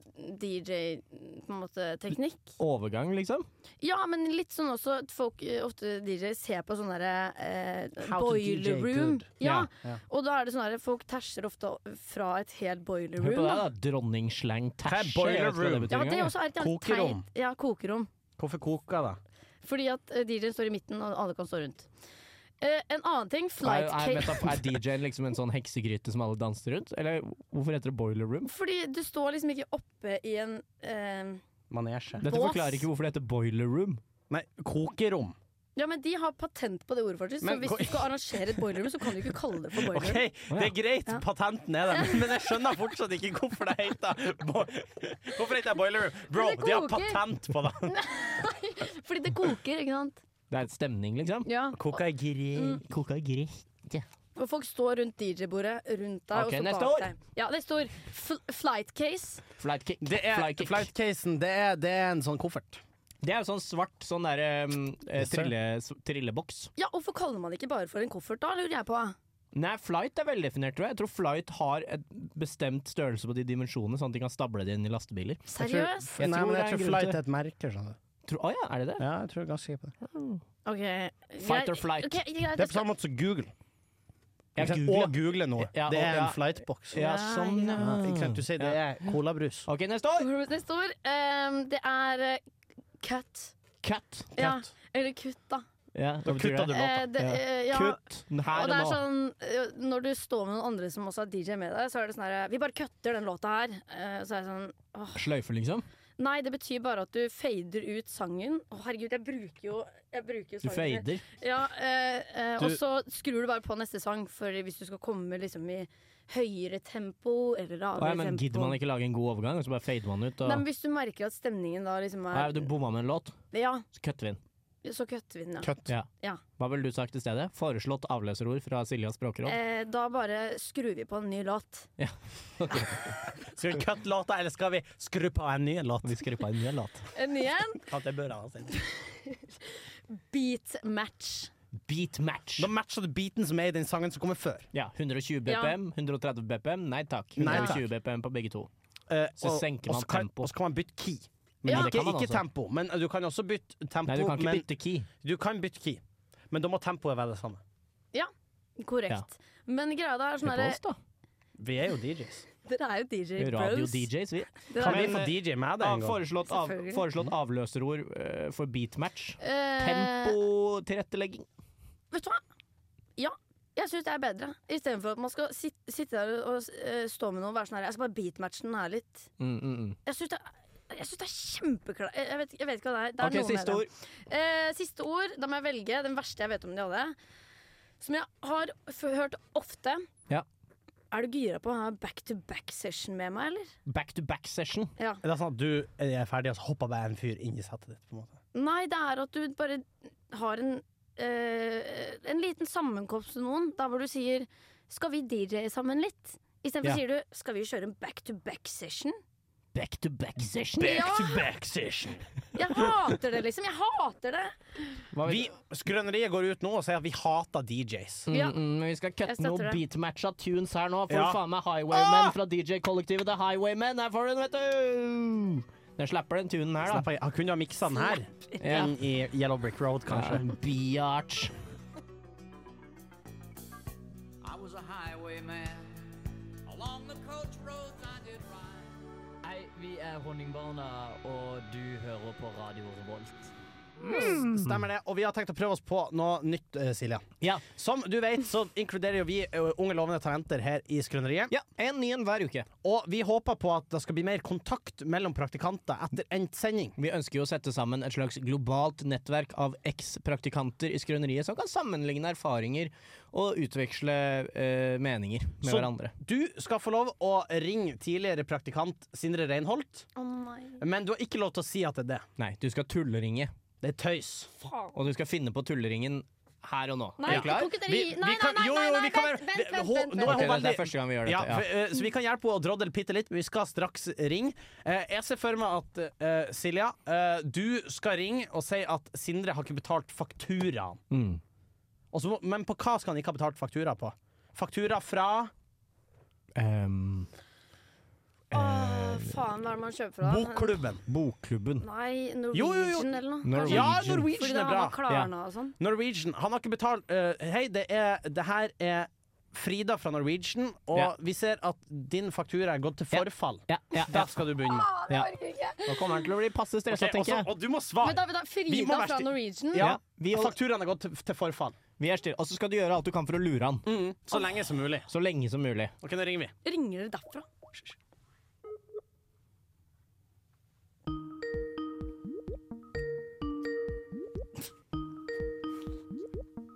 D: DJ-teknikk.
E: Overgang, liksom.
D: Ja, men litt sånn også at folk, eh, ofte DJ, ser på sånn derre eh,
B: How to DJ
D: boiler room.
B: good.
D: Ja.
E: Ja.
D: Og da er det sånn derre folk tæsjer ofte fra et helt boiler
E: Hør på
D: room.
E: det,
D: Da.
E: da. Dronningslang
B: Hva
E: tæsje.
B: er boiler
E: Jeg vet ikke hva det
B: room?
D: Ja,
E: betyr
D: det er
E: engang.
D: også er et jævlig
B: Kokerom.
D: teit- Ja, kokerom.
B: Hvorfor koka, da?
D: Fordi at eh, DJ-en står i midten, og alle kan stå rundt. Eh, en annen ting,
E: Er,
D: flight
E: er,
D: cake.
E: metaf- er DJ-en liksom en sånn heksegryte som alle danser rundt? Eller hvorfor heter det boiler room?
D: Fordi du står liksom ikke oppe i en eh,
B: Manesje.
E: Dette
D: Bås.
E: forklarer ikke hvorfor det heter boiler room.
B: Nei, kokerom.
D: Ja, men de har patent på det ordet, faktisk. Så
B: Men
D: hvis
B: gå-
D: du skal arrangere et boiler room, så kan du ikke kalle det for boiler
B: OK,
D: room.
B: det er greit,
D: Ja.
B: patenten er der, men jeg skjønner fortsatt ikke hvorfor det heter bo Hvorfor det heter boiler room. Bro,
D: Men det
B: de har
D: koker.
B: patent på det.
D: Fordi det koker, ikke sant?
E: Det er et stemning, liksom.
D: Ja.
B: Koka er grei.
D: Mm.
E: Koka greit.
D: Og folk står rundt DJ-bordet rundt
E: Ok,
D: deg. og så
E: neste
D: bak
E: ord.
D: Deg. Ja, neste ord. Fl flight case.
E: Flight kick.
B: Det er,
E: Flight kick.
B: flightcasen, det er, det er en sånn koffert.
E: Det er jo sånn svart sånn der, um, eh,
B: Yes, sir.
E: trille, s- trilleboks.
D: Ja, Hvorfor kaller man det ikke bare for en koffert, da? lurer jeg på.
E: Nei, flight er veldefinert, tror jeg. Jeg tror flight har et bestemt størrelse på de dimensjonene, sånn at de kan stable det inn i lastebiler.
D: Seriøst?
E: Jeg
B: Nei,
E: tror
B: men
E: det er
B: jeg
E: en
B: tror
E: grunn
B: flight
E: til
B: er et merke. Sånn.
E: Tror, å ja, er det det?
B: Ja, jeg tror ganske sikkert på det.
D: Ok,
E: Fight
D: greit.
E: or flight.
D: Ok, greit,
B: Det er på samme måte som Google.
E: Ja,
B: Ikke sant?
E: Google, ja.
B: Og Google nå.
E: Ja,
B: det
E: og-
B: er
E: ja.
B: en flightbox.
E: Ja,
D: Ja,
E: sånn,
D: ja.
E: ja.
B: Ikke sant, du sier det er colabrus.
E: OK, neste år!
D: Neste ord. ehm, det er eh, cut.
E: Cut.
D: Ja,
B: Cut.
D: eller kutt, da.
E: Ja, hva betyr
B: kutta
E: det?
D: Eh, det,
E: Ja.
D: eh, ja.
E: Kutt
D: Og
E: her og
D: det er
E: nå.
D: sånn, eh, Når du står med noen andre som også er DJ med deg, så er det sånn her Vi bare kutter den låta her. Eh, Så er det sånn åh.
E: Sløyfe, liksom.
D: Nei, det betyr bare at du fader ut sangen. Å, herregud, jeg bruker jo, jeg bruker jo
E: Du
D: sangen.
E: fader.
D: Ja, eh, eh,
B: Du-
D: Og så skrur du bare på neste sang, for hvis du skal komme liksom i høyere tempo eller
E: Å,
D: lavere
E: ja, men
D: tempo.
E: gidder man ikke lage en god overgang, og så bare fader man ut? Og...
D: Nei, men Hvis du merker at stemningen da liksom
E: Nei,
D: er
E: du bomma med en låt,
D: Ja,
E: så kutter vi den.
D: så kutter vi den, ja.
B: Cut.
E: Ja.
D: Ja.
E: Hva ville du sagt i stedet? Foreslått avløserord fra Siljas språkråd?
D: Eh, da bare skrur vi på en ny låt.
B: Skal vi cutte låta, eller skal vi skru på en ny låt?
E: Vi skrur på en ny låt.
D: En ny en.
B: At det bør han si.
D: Beat match.
E: Beat match.
B: Da matcher du beaten som er i den sangen som kommer før.
E: Ja, 120
D: Ja.
E: BPM, 130 BPM, nei takk.
B: Nei
E: 120 BPM på begge to.
B: Eh,
E: Så
B: og-
E: senker
B: og
E: man
B: så kan-
E: tempo.
B: Og så kan man bytte key.
E: Men
D: Ja.
E: det
B: Ikke,
E: kan man
B: ikke
E: altså.
B: tempo, men du kan også bytte tempo.
E: Nei, du kan ikke
B: men
E: bytte key.
B: du kan bytte key. Men da må tempoet være det samme.
D: Korrekt. Men greia da er sånn
E: Hør på
D: herre
E: oss, da.
B: Vi er jo DJs.
D: Dere er jo DJ bros.
E: Radio-DJs, vi.
D: Dere
B: Kan
D: er-
B: vi
E: Men,
B: få
E: eh,
B: DJ med deg
E: Ja,
B: en gang?
E: foreslått, av,
D: Selvfølgelig.
E: foreslått avløserord eh, for beatmatch.
D: Eh,
E: Tempotilrettelegging.
D: Vet du hva? Ja. Jeg syns det er bedre. Istedenfor at man skal sit, sitte der og eh, stå med noen og være sånn her Jeg skal bare beatmatche den her litt.
E: Mm, mm, mm.
D: Jeg syns det, er- jeg synes det er kjempeklart jeg, jeg, vet- jeg vet ikke hva det er. Det er
E: OK,
D: noe med
E: siste
D: det.
E: ord.
D: Eh, siste ord. Da må jeg velge den verste jeg vet om de alle. Som jeg har f hørt ofte.
E: Ja.
D: Er du gira på å ha back-to-back-session med meg, eller?
E: Back to back session.
D: Ja.
B: Er det sånn at du er ferdig, og så hopper bare en fyr inn i settet ditt? på en måte?
D: Nei, det er at du bare har en eh, En liten sammenkomst med noen der hvor du sier 'skal vi DJ sammen litt'? Istedenfor
E: Ja.
D: sier du 'skal vi kjøre en back to back session'?
E: back to back session.
D: Ja,
B: Back session.
D: jeg hater det, liksom. Jeg hater det.
E: Hva vil-
B: Vi, skrøneriet går ut nå og sier at vi hater DJs.
E: Mm,
D: Ja.
E: mm, men vi skal
D: Jeg
E: kutte
D: støtter
E: noe
D: det.
E: beatmatcha tunes her nå. For
B: Ja.
E: faen meg Highwaymen fra DJ-kollektivet The Highwaymen. Her får du den, vet du! Den slapper den tunen her,
B: Slapp
E: da.
B: av, Han kunne ha miksa den her
E: Ja.
B: inn i Yellow Brick Road,
E: Ja,
B: kanskje.
E: Biatch.
I: I was a highwayman. Along the coach roads I did ride.
J: Hei, vi er Honningbarna, og du hører på Radio Revolt.
B: Stemmer det. Og vi har tenkt å prøve oss på noe nytt, eh, Silja.
E: Ja.
B: Som du vet, så inkluderer jo vi eh, unge lovende talenter her i Skrøneriet.
E: ja. En ny en hver uke.
B: Og vi håper på at det skal bli mer kontakt mellom praktikanter etter endt sending.
E: Vi ønsker jo å sette sammen et slags globalt nettverk av eks-praktikanter i skrøneriet som kan sammenligne erfaringer og utveksle eh, meninger med
B: Så-
E: hverandre.
B: Du skal få lov å ringe tidligere praktikant Sindre Reinholt,
D: Å nei.
B: men du har ikke lov til å si at det er det.
E: Nei, du skal tulleringe,
B: Det er tøys.
D: Faen.
E: og du skal finne på tulleringen her og nå.
D: Nei,
E: er du klar?
D: kan ikke dere gi Nei, nei,
B: kan-
D: nei,
B: jo,
D: nei,
B: jo,
D: nei,
B: vi kan
D: vent,
B: være-
D: vent,
B: Hå-
D: vent,
E: Ok,
B: nå er hun
D: vent.
E: det, det
B: veldig-
E: er første gang vi gjør
B: Ja,
E: dette. Ja.
B: for, eh, så vi kan hjelpe henne å drodle bitte litt, men vi skal straks ringe. Eh, jeg ser for meg at eh, Silja, eh, du skal ringe og si at Sindre har ikke betalt fakturaen.
E: Mm.
B: Og så må- Men på hva skal han ikke ha betalt faktura på? Faktura fra
E: Ehm,
D: Åh, faen, hva er det man kjøper fra?
B: bokklubben.
E: bokklubben.
D: Nei,
B: Jo, jo, jo.
D: Norwegian eller noe.
E: Norwegian.
B: Ja,
D: Fordi
B: Norwegian
D: da
B: er
D: har
B: bra.
D: man Klarna og sånn.
B: Norwegian. Han har ikke betalt eh, Hei, det, er, det her er Frida fra Norwegian, og
E: Ja.
B: vi ser at din faktura er gått til
E: Ja.
B: forfall.
E: Ja, ja, ja.
B: Da skal du begynne.
E: ja. Nå kommer han til å bli passe stressa,
B: Ok, og
E: tenker
B: så-
E: jeg.
B: og du må
D: Men da,
B: svare.
D: da,
B: Ah. Vi må
D: Frida
B: være
D: fra
B: sti-
D: Norwegian?
B: Ja,
E: vi holder-
B: fakturaen er gått til, til forfall.
E: Vi er stille. Og så skal du gjøre alt du kan for å lure han.
B: Mm, så lenge som mulig.
E: Så lenge som mulig.
B: Ok, nå ringer vi.
D: Ringer dere derfra?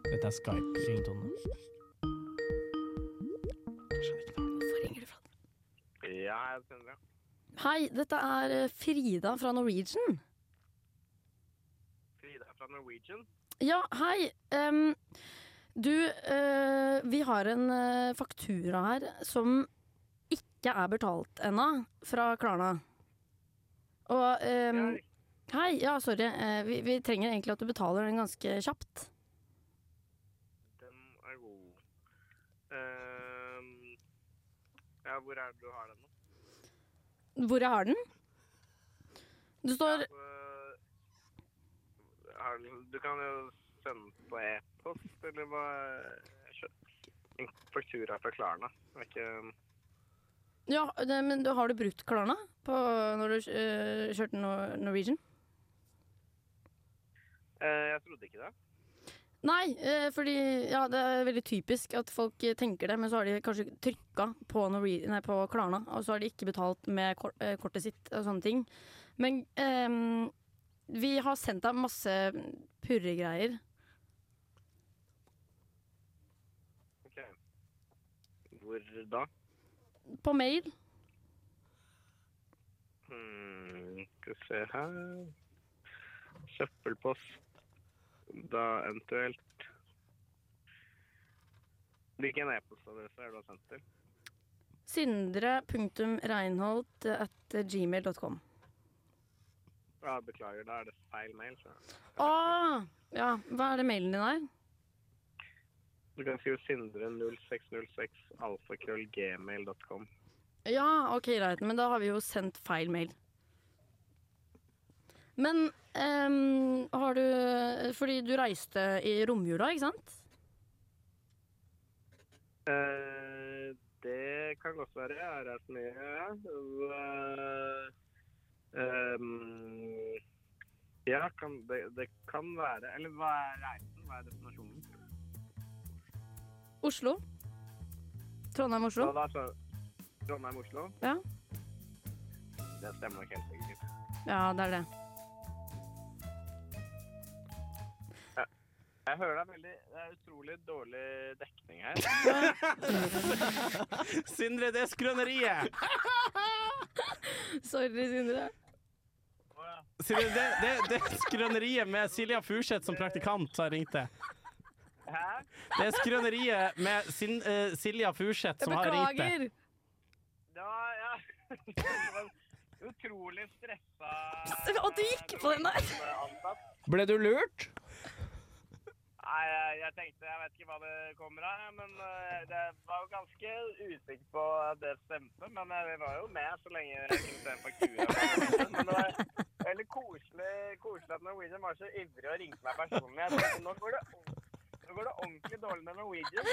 E: Dette er Skype-ringtone.
D: Hvorfor ringer du fra?
C: Ja, jeg er Sindre.
D: Hei, dette er eh, Frida fra Norwegian.
C: Frida er fra Norwegian.
D: Ja, hei. Em, du, eh, vi har en eh, faktura her som ikke er betalt ennå, fra Klarna. Og em,
C: Jeg,
D: Hei, ja, sorry. eh, vi, vi trenger egentlig at du betaler den ganske kjapt.
C: den er god. Ehm, ja, hvor er det du har den nå?
D: Hvor jeg har den? Du står
C: Eh, har du- du kan jo sende den på e-post, eller hva? Kjøp en faktura fra Klarna. Det er ikke...
D: Ja, det, men du, har du brukt Klarna på, når du eh, kjørte Nor- Norwegian?
C: Eh, jeg trodde ikke det.
D: Nei, eh, fordi ja, det er veldig typisk at folk eh, tenker det, men så har de kanskje trykka på, Norwe- nei, på Klarna, og så har de ikke betalt med kor eh, kortet sitt og sånne ting. Men ehm, vi har sendt deg masse purregreier.
C: Ok. Hvor da?
D: På mail.
C: Hmm, skal vi se her. Søppelpost. Da eventuelt. Hvilken e-postadresse er det du har sendt til?
D: Sindre.reinholt at gmail.com.
C: Ja, beklager, da er det feil mail. Så.
D: Å! Ah, Ja, hva er det mailen din er?
C: Du kan skrive sindre0606 alfakrøllgmail.com.
D: Ja, ok, greit, men da har vi jo sendt feil mail. Men ehm, har du Fordi du reiste i romjula, ikke sant?
C: Eh, det kan godt være. Jeg har reist mye. ja. Eh, ehm, ja, kan, det, det kan være. Eller hva er reisen? Hva er destinasjonen?
D: Oslo? Trondheim-Oslo?
C: Ja, da, så, Trondheim-Oslo?
D: Ja.
C: Det stemmer nok helt sikkert.
D: Ja, det er det.
C: Jeg hører det er veldig Det er utrolig dårlig dekning her.
B: Sindre, det er skrøneriet!
D: Sorry, Sindre.
B: Silje, det, det, det er skrøneriet med Silja Furseth som praktikant som har ringt deg.
C: Hæ?
B: Det er skrøneriet med Sin, eh, Silja Furseth
D: Jeg
B: som har ringt deg.
D: beklager!
C: Ja, ja. Utrolig stressa
D: Og du gikk på den der!
C: ansatt.
E: Ble du lurt?
C: Nei, jeg- jeg tenkte Jeg vet ikke hva det kommer av, jeg, men eh, jeg var jo ganske usikker på at det stemte. Men jeg var jo med så lenge jeg kunne se en faktura. Men eh, det var veldig koselig, koselig at Norwegian var så ivrig og ringte meg personlig. Jeg tenkte, nå går det nå går det ordentlig dårlig med Norwegian.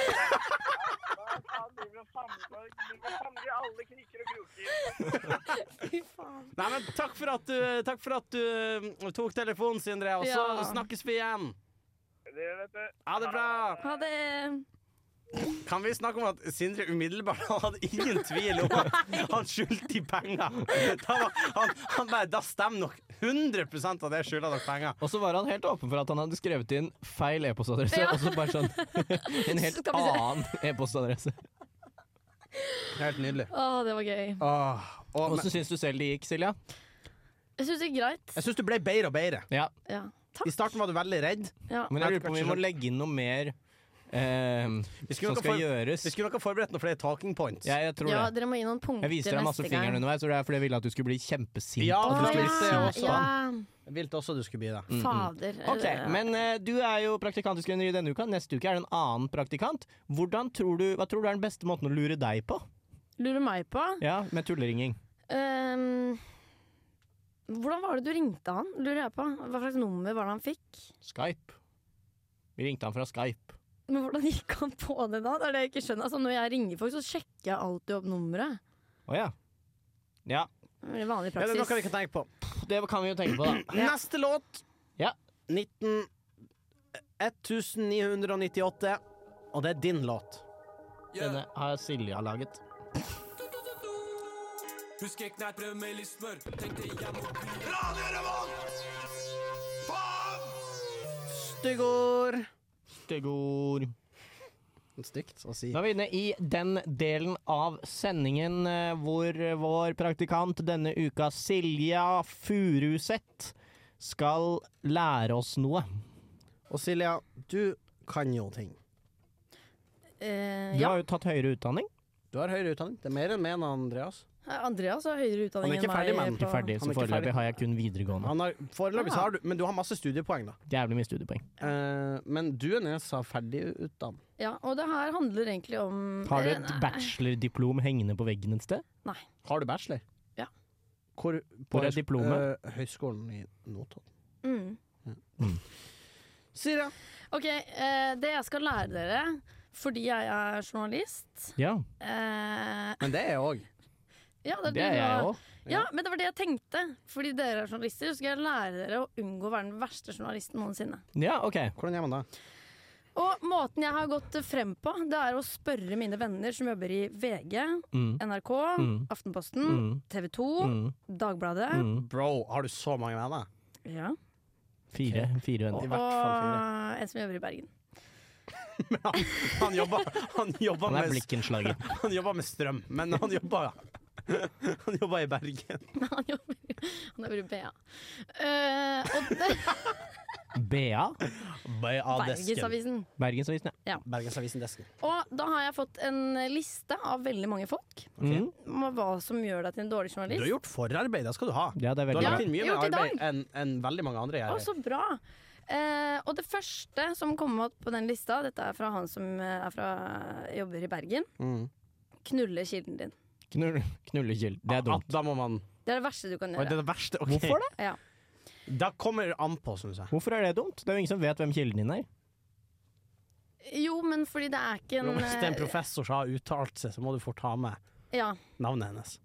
C: Hva faen driver og famler driver og famler i alle kriker og kroker?
D: Fy faen.
B: Nei, men takk for at du, takk for at du eh, tok telefonen, Sindre, og så
D: Ja.
B: snakkes vi igjen.
C: Det vet du.
B: Ha det bra.
D: Ha det.
B: Kan vi snakke om at Sindre umiddelbart han hadde ingen tvil om at han skyldte de penger? Da var, han, han bare, da stemmer nok 100 av det skylder dere penger.
E: Og så var han helt åpen for at han hadde skrevet inn feil e-postadresse,
D: Ja.
E: og så bare sånn En helt
D: Skal vi se.
E: annen e-postadresse.
B: Helt nydelig.
D: Å, det var gøy.
B: og,
E: Åssen syns du selv det gikk, Silja?
D: Jeg syns det gikk greit.
B: Jeg syns du ble bedre og bedre.
E: Ja.
D: Ja. Takk.
B: I starten var du veldig redd.
D: Ja.
E: Men jeg lurer på om vi må legge inn noe mer eh, som skal
B: nok for-
E: gjøres.
B: Vi skulle nok ha forberedt noen flere talking points.
E: Ja, jeg tror
D: ja,
E: det.
D: dere må gi noen punkter
E: Jeg viste deg masse
D: neste gang.
E: fingeren underveis, og det er fordi jeg ville at du skulle bli kjempesint.
B: Ja,
E: at
B: for
E: du
B: det
E: skulle
B: skulle
E: bli
B: jeg
E: sint.
B: også. Jeg ville også du skulle bli det.
D: Fader.
E: Mm, Ok, men eh, du er jo praktikant i Skrøneri denne uka. Neste uke er det en annen praktikant. Hvordan tror du, Hva tror du er den beste måten å lure deg på?
D: Lurer meg på
E: Ja, Med tulleringing.
D: ehm, Hvordan var det du ringte han? Lurer jeg på. Hva slags nummer var det han fikk?
E: Skype. Vi ringte han fra Skype.
D: Men hvordan gikk han på det da? Det er det jeg ikke skjønner. Altså, når jeg ringer folk, så sjekker jeg alltid opp nummeret.
E: Å ja. Ja,
D: Det er Vanlig
B: Ja, det
D: praksis.
B: er noe vi kan tenke på.
E: det kan vi jo tenke på, da.
B: Neste låt
E: Ja.
B: 19 1998. Og det er din låt.
E: Denne har Silja laget.
H: Husk ikke knert brød med litt smør. Tenkte jeg må
B: Styggord.
E: Styggord.
B: Stygt å si.
E: Da er vi inne i den delen av sendingen eh, hvor vår praktikant denne uka, Silja Furuseth, skal lære oss noe.
B: Og Silja, du kan jo ting.
D: Eh,
E: Du
D: ja.
E: har jo tatt høyere utdanning.
B: Du har høyere utdanning. Det er mer enn meg og Andreas.
D: Andreas har høyere
B: Han
D: utdanning
B: er ikke ferdig, men
D: enn meg.
E: Ikke ferdig,
B: Han
E: så
B: er ikke ferdig.
E: foreløpig har jeg kun videregående.
B: Han har, foreløpig
D: Ja.
B: så har du Men du har masse studiepoeng, da.
E: Jævlig mye studiepoeng.
B: Eh, men du er nesa ferdig utdannet.
D: Ja, og det her handler egentlig om
E: Har du
D: Eh,
E: et
D: nei.
E: bachelordiplom hengende på veggen et sted?
D: Nei.
B: Har du bachelor?
D: Ja.
B: Hvor, på
E: Hvor er
B: høys-
E: diplomet?
B: eh, høyskolen i Notodden.
D: Mm.
B: Silja.
D: Ok, eh, det jeg skal lære dere, fordi jeg er journalist
E: Ja,
D: eh,
B: Men det er jeg òg.
D: ja, det, er
E: det er
D: du
E: jeg
D: da.
E: òg.
D: Ja, men det var det jeg tenkte. Fordi dere er journalister, så skal jeg lære dere å unngå å være den verste journalisten noensinne.
E: Ja, OK.
B: Hvordan gjør man det?
D: Og måten jeg har gått frem på, det er å spørre mine venner som jobber i VG,
E: Mm.
D: NRK,
E: Mm.
D: Aftenposten,
E: Mm.
D: TV 2,
E: Mm.
D: Dagbladet.
E: Mm.
B: Bro, har du så mange venner?
D: Ja.
E: Fire, fire venner.
B: I hvert
D: Og
B: fall fire.
D: en som jobber i Bergen.
B: Han jobber, han jobber,
E: Han er
B: med,
E: blikkenslager.
B: han jobber med strøm, men han jobber Han jobber i Bergen.
D: Han jobber, han jobber i BA. Eh, og det,
E: BA.
D: Bergensavisen.
E: Bergensavisen, ja.
B: Bergensavisen Desken.
D: Og da har jeg fått en liste av veldig mange folk
E: Mm.
D: om hva som gjør deg til en dårlig
B: Du har
D: journalist.
B: gjort forarbeid, det skal du ha.
E: ja, det er
B: Du har
E: veldig bra.
B: lagt inn mye mer
D: Gjort i dag.
B: arbeid enn enn veldig mange andre
D: Å,
B: gjør.
D: så bra! Eh, og det første som kom opp på den lista, dette er fra han som eh, er fra, jobber i Bergen,
B: Mm.
D: knulle kilden din.
E: Knull, knullekjell. Det er dumt.
B: At da må man
D: Det er det verste du kan
B: Oi, Det
D: gjøre.
B: er det verste. ok.
E: Hvorfor det?
D: Ja.
B: Da kommer det an på, syns jeg.
E: Hvorfor er det dumt? Det er jo ingen som vet hvem kilden din er.
D: Jo, men fordi det er ikke en
B: Hvis det er en
D: eh,
B: professor som har uttalt seg, så må du fort ha med
D: Ja.
B: navnet hennes.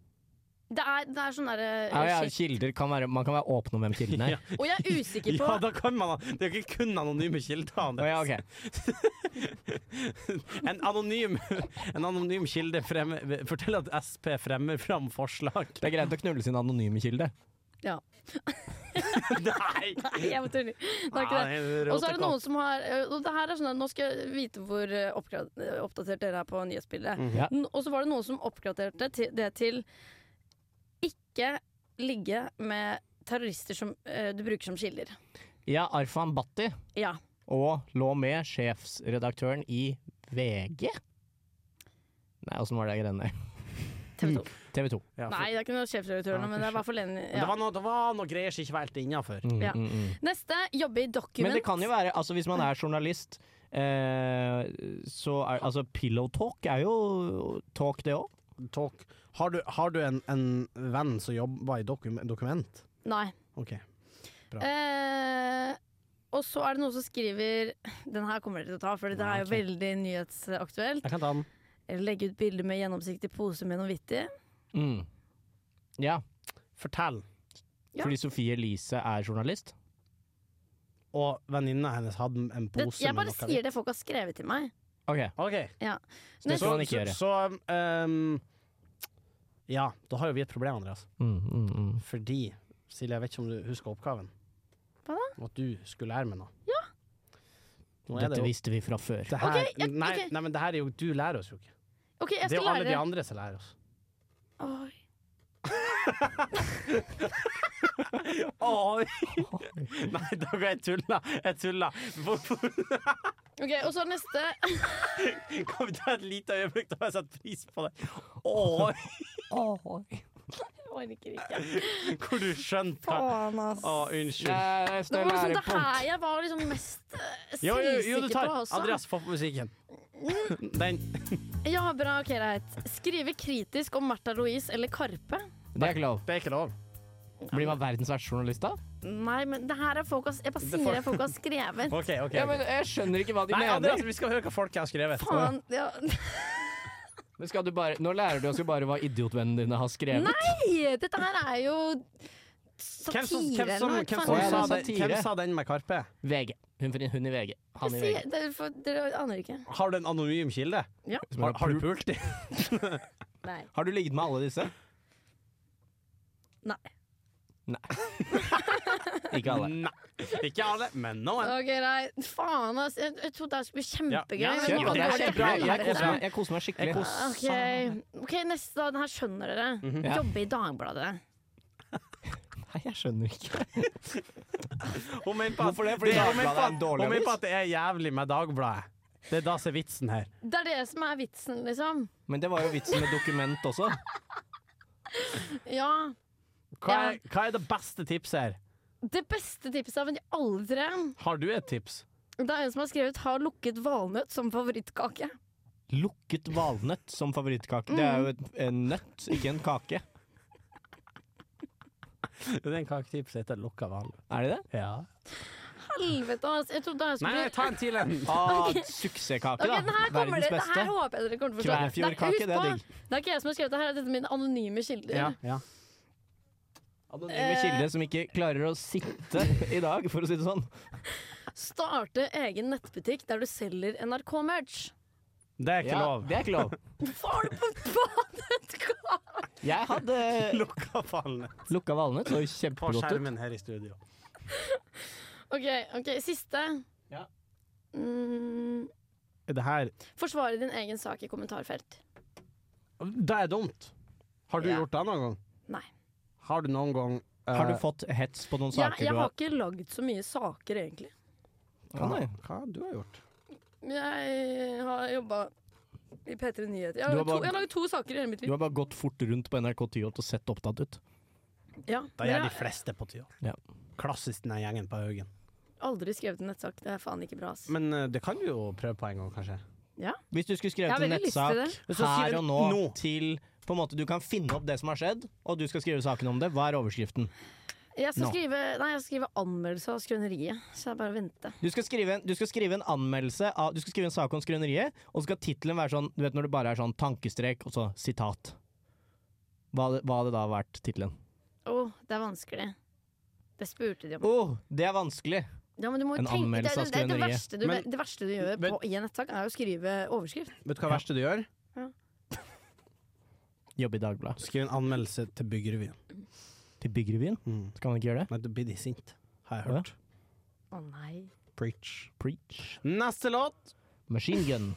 D: Det er, det er sånn derre
E: Ja, ja, kilder kan være, man kan være åpen om hvem kilden er.
B: Ja.
D: Og jeg er usikker på
B: Ja, da kan man Det er jo ikke kun anonyme kilder. Anders.
E: Å, ja, ok.
B: En anonym, en anonym kilde fremmer, forteller at SP fremmer fram forslag.
E: Det er greit å knulle sin anonyme kilde.
D: Ja.
B: Nei!
D: Nei, jeg må tulle. Det er ikke det. Og så er det noen som har Og det her er sånn at Nå skal jeg vite hvor eh, oppgra- eh, oppdatert dere er på nyhetsbildet.
B: Mhm.
E: Ja.
D: N- Og så var det noen som oppgraderte til, det til ikke ligge med terrorister som eh, du bruker som kilder.
E: Ja, Arfan Bhatti
D: Ja.
E: og lå med sjefsredaktøren i VG. Nei, åssen var det greiene der?
D: TV 2.
B: Mm.
E: TV 2.
D: Nei, det er ikke noe sjefredaktør nå, men det er bare for Lenny.
B: Men det
D: Ja.
B: var noe, det var noe greier som ikke var helt innafor.
E: Mm.
D: Ja. Neste jobbe i Document.
E: Men det kan jo være, altså hvis man er journalist eh, så er, altså Pillow talk er jo talk, det òg.
B: Talk. Har du, har du en, en venn som jobber i dokum, dokument?
D: Nei.
B: OK. Bra.
D: Eh, og så er det noen som skriver Den her kommer dere til å ta, for det er jo veldig nyhetsaktuelt.
B: Jeg kan ta den.
D: Legge ut bilder med gjennomsiktig pose med noe vittig.
E: Mm. Ja,
B: Fortell.
D: Ja.
E: fordi Sofie Elise er journalist.
B: Og venninna hennes hadde en
D: Det,
B: pose
D: jeg bare
B: med noe
D: sier det folk har skrevet til meg.
E: Ok,
B: Ok.
D: Ja.
E: Så det
D: Neste,
E: skal man ikke gjøre.
B: Så, ehm, ja, da har jo vi et problem, Andreas.
E: Mm, mm, mm.
B: Fordi, Silje, jeg vet ikke om du husker oppgaven.
D: Hva
B: At du skulle lære meg noe. Nå er det
E: Dette
B: jo-
E: visste vi fra før.
B: Det her,
D: Ok, ja,
B: nei,
D: ok.
B: nei, men det her er jo Du lærer oss jo ikke.
D: OK, jeg
B: Det er jo
D: skal
B: alle
D: lære
B: de
D: dere.
B: andre som lærer oss.
D: Oi.
B: nei, da går jeg tulla. Jeg tulla. Hvorfor
D: OK, og så neste.
B: kan vi ta et lite øyeblikk, da har jeg satt pris på det? Oi!
D: Jeg orker ikke.
B: Hvor du skjønte hva
D: Faen, ass.
B: Å, unnskyld.
D: Det var liksom det her jeg var liksom mest eh,
B: Jo, jo, jo, du
D: selvsikker
B: tar.
D: på altså. også.
B: Andreas, få på musikken. Den.
D: Ja, bra, ok, greit. Skrive kritisk om Märtha Louise eller Karpe.
E: Det er ikke lov.
B: Det er ikke lov.
E: Blir man verdens verste journalist da?
D: Nei, men det her er folk har, Jeg bare
B: får-
D: sier det folk har skrevet.
B: OK, OK.
E: Ja, men jeg skjønner ikke hva de
B: Nei, Andreas,
E: mener.
B: vi skal høre hva folk har skrevet.
D: Faen. Ja.
E: Men skal du bare, nå lærer du oss jo bare hva idiotvennene dine har skrevet.
D: Nei! Dette her er jo satire.
B: Hvem som, hvem som,
D: eller noe,
B: hvem
D: faen.
B: som, sa,
E: Ja, det er
B: den, hvem
E: satire.
B: sa den med Karpe?
E: VG. Hun, hun i VG. Han i
D: Jeg
E: VG.
D: sier, det er for, dere aner ikke.
B: Har du en anonym kilde?
D: Ja.
B: Har, har du pult?
D: Nei.
E: Har du ligget med alle disse?
D: Nei.
E: Ikke alle.
B: Nei. Ikke alle, men noen.
D: Ok, nei. Faen, ass. Jeg, jeg trodde det skulle bli kjempegøy.
B: Ja, ja,
D: men
B: kjør
D: nå
B: på. Det er
D: går til
B: kjempebra. Jeg
D: helvete.
B: koser meg.
E: Jeg koser meg skikkelig.
D: Ok, ok, neste da. Den her skjønner dere.
B: Mhm.
E: Ja.
D: Jobbe i Dagbladet.
E: Nei, jeg skjønner ikke.
B: Hun mener på at-
E: Hvorfor det? Fordi
B: hun
E: Dagbladet
B: mener på at-
E: er en dårlig
B: Hun mener på
E: avis.
B: at det er jævlig med Dagbladet. Det er da som er vitsen her.
D: Det er det som er vitsen, liksom.
E: Men det var jo vitsen med dokument også.
D: Ja.
B: Hva er, hva er det beste tipset her?
D: Det beste tipset av de alle tre
B: Har du et tips?
D: Det er en som har skrevet 'Har lukket valnøtt som favorittkake'.
E: Lukket valnøtt som favorittkake. Det er jo et, en nøtt, ikke en kake.
B: Det er en kaketips som heter lukka vann.
E: Er det det?
B: Ja.
D: Helvete, ass. Jeg trodde jeg skulle
B: Nei,
D: bli
B: ta en til en.
E: Ah, suksesskake,
D: Ok,
E: da.
D: den her kommer
E: Verdens
D: det, det
E: beste.
D: her håper jeg dere kommer til å forstå.
E: Kvæfjordkake,
D: Nei, husk
E: det er
D: på,
E: digg.
D: Det er ikke jeg som har skrevet det her, dette er mine anonyme kilder.
B: Ja, ja.
E: Anonyme kilde som ikke klarer å sitte i dag, for å si det sånn.
D: Starte egen nettbutikk der du selger NRK-merch.
B: Det er ikke
E: Ja,
B: lov.
E: Det er ikke lov.
D: Får du på badet?
E: Jeg hadde
B: Lukka vann
E: lukka valnøtt, så
B: på
E: kjempegodt ut.
B: skjermen her i studio.
D: OK, ok, siste.
B: Ja.
D: Mm,
B: Er det her
D: forsvare din egen sak i kommentarfelt.
B: Det er dumt. Har du
D: Ja.
B: gjort det noen gang?
D: Nei.
B: Har du noen gang eh,
E: Har du fått hets på noen
D: Jeg,
E: saker
D: jeg
E: du
D: har
E: har
D: ikke lagd så mye saker, egentlig.
E: Å, nei.
B: Hva du har gjort?
D: Jeg har jobba i P3 Nyheter. Jeg har
E: Du har
D: laget to,
E: bare-
D: jeg har laget to saker i hele mitt
E: Du
D: liv.
E: har bare gått fort rundt på NRK Tyholt og sett opptatt ut.
D: Ja,
B: Da gjør de
D: men jeg har
B: fleste på tida.
E: Ja.
B: Klassisk den her gjengen på Haugen.
D: aldri skrevet en nettsak. Det er faen ikke bra,
E: Mm.
D: ass.
B: Men eh, det kan du jo prøve på en gang, kanskje.
E: Hvis du skulle
D: Jeg
E: skrevet
D: har
E: en
D: veldig lyst til
E: nettsak
D: det.
B: Hvis du
E: her
B: skriver
E: og nå,
B: nå.
E: til på en måte Du kan finne opp det som har skjedd, og du skal skrive saken om det. Hva er overskriften?
D: Jeg skal,
E: Nå.
D: skrive, nei, jeg skal skrive anmeldelse av skrøneriet, så jeg bare venter.
E: Du skal skrive en, du skal skrive en anmeldelse av, Du skal skrive en sak om skrøneriet, og så skal tittelen være sånn Du vet når det bare er sånn tankestrek og så sitat. Hva, hadde- hva hadde da vært tittelen?
D: Å, det er vanskelig. Det spurte
E: Å,
D: de om.
B: Oh,
E: det er vanskelig!
D: Ja, men du må jo
E: en
D: tenke, det,
E: anmeldelse
D: er-
E: av
D: det, er det,
E: skrøneriet.
D: verste du,
B: Men-
D: det verste du gjør
B: men-
D: på, i en nettsak, er å skrive overskrift.
B: Vet du hva det verste du gjør?
E: Jobbe i Dagbladet.
B: Skriv en anmeldelse til Byggerevyen.
E: Til Byggrevyen?
B: Mm.
E: Skal man ikke gjøre det?
B: Nei, da blir de sinte, har jeg hørt.
D: Å nei.
B: Preach.
E: Preach.
B: Neste låt.
E: Machine Gun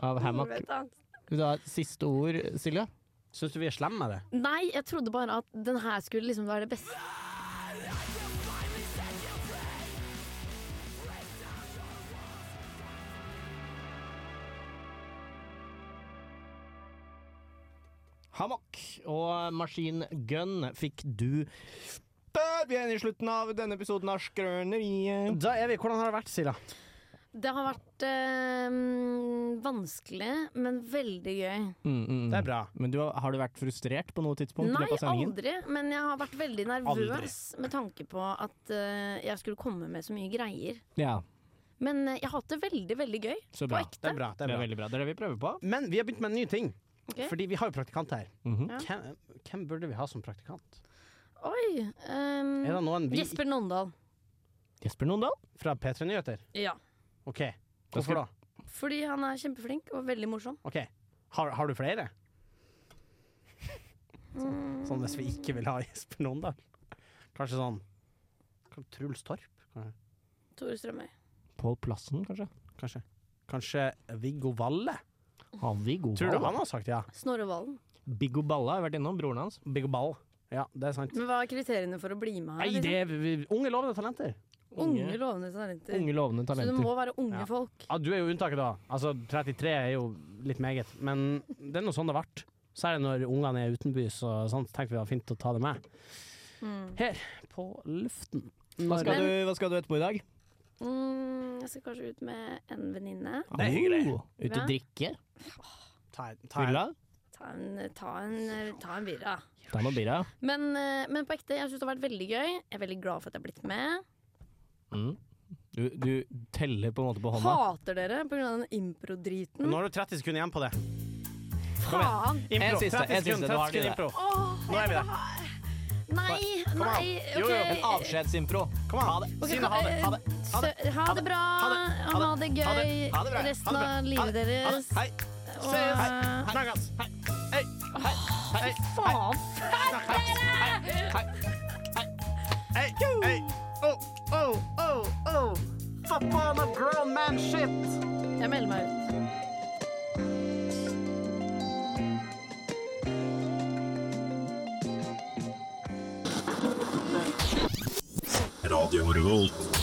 E: av
D: Mm.
E: Hammock.
D: Nei,
E: Vil du ha et siste ord, Silje?
B: Syns du vi er slemme med det?
D: jeg trodde bare at den her skulle liksom være det beste.
E: Hammock og Machine Gun fikk du. Der Vi er inne i slutten av denne episoden av Skrøneriet.
B: Da er vi. Hvordan har det vært, Sila?
D: Det har vært eh, vanskelig, men veldig gøy.
E: Mm, Det er bra. Men du, har- har du vært frustrert på noe tidspunkt? i
D: Nei,
E: løpet av sendingen?
D: aldri, men jeg har vært veldig nervøs med tanke på at eh, jeg skulle komme med så mye greier.
E: Ja,
D: Men eh, jeg har hatt det veldig, veldig gøy.
E: så
D: På
E: bra.
D: ekte.
B: Det er bra. Det er, bra.
E: veldig bra. Det er det vi prøver på.
B: Men vi har begynt med en ny ting.
D: Ok.
B: Fordi vi har jo praktikant her.
E: Mhm.
D: Ja.
B: Hvem, hvem burde vi ha som praktikant?
D: Oi! ehm,
B: Er det noen vi
D: Jesper Nondal.
E: Jesper Nondal.
B: fra P3 Nyheter?
D: Ja.
B: OK. Hvorfor da?
D: Fordi han er kjempeflink og veldig morsom.
B: Ok, Har, har du flere?
D: Mm.
B: Sånn hvis vi ikke vil ha Jesper Nondal? Kanskje sånn kan- Truls Torp? Kan-
D: Mm, Tore Strømøy.
E: Pål Plassen, kanskje?
B: Kanskje. Kanskje Viggo Valle?
E: Har vi god
B: Tror du
E: ball,
B: han har sagt ja?
D: Snorre Valen.
E: da? Biggo Balla har vært innom, broren hans.
B: Big Ball. Ja, det er sant.
D: Men hva er kriteriene for å bli med her?
B: Nei, det er vi- unge lovende talenter.
D: Unge, lovende talenter.
E: Unge lovende
D: Så det
E: talenter.
D: må være unge
B: Ja.
D: folk.
B: Ja, du er jo unntaket, da. Altså, 33 er jo litt meget. Men det er nå sånn det ble. Særlig når ungene er utenbys, og sånt, tenkte vi det var fint å ta det med. Her på luften.
E: Hva,
B: Når-
E: skal du, hva skal du etterpå i dag?
D: Mm, jeg skal kanskje ut med en venninne.
B: Det er hyggelig.
E: Oh, Ut
D: Bra.
E: og drikke?
B: Ta, ta en-
E: Fylla?
D: Ta en, ta en, ta en birra.
E: Ta noe birra?
D: Men, eh, men på ekte, jeg syns det har vært veldig gøy. Jeg er veldig glad for at jeg har blitt med.
E: Mm. Du, du teller på en måte på hånda?
D: Hater dere pga. den impro-driten.
B: Nå har du 30 sekunder igjen på det.
D: Faen!
E: En siste,
B: 30
E: en siste,
B: sekunder,
E: du
B: 30
E: har den i
B: sekunder
E: det.
B: impro.
D: Åh,
B: Nå er vi der.
D: nei,
B: an.
D: nei,
B: Jo, jo,
D: ok.
E: En avskjedsimpro.
B: Kom an.
D: Ok,
B: Sine, ha det. Ha det.
D: Ha det, ha det bra. Ha det, gøy
B: Ha det. Ha det bra.
D: resten
B: Ha det bra.
D: av
B: Ha
D: livet
B: det. Ha
D: deres.
B: det. Hei.
D: Og- eh,
B: Ses. Snakkes. Hei. Hei. Hei. Hei.
D: Faen.
B: Hey, hey, oh, oh, oh, oh. Forbanna grown man shit.
D: Jeg melder meg ut.
K: Radio Revolt.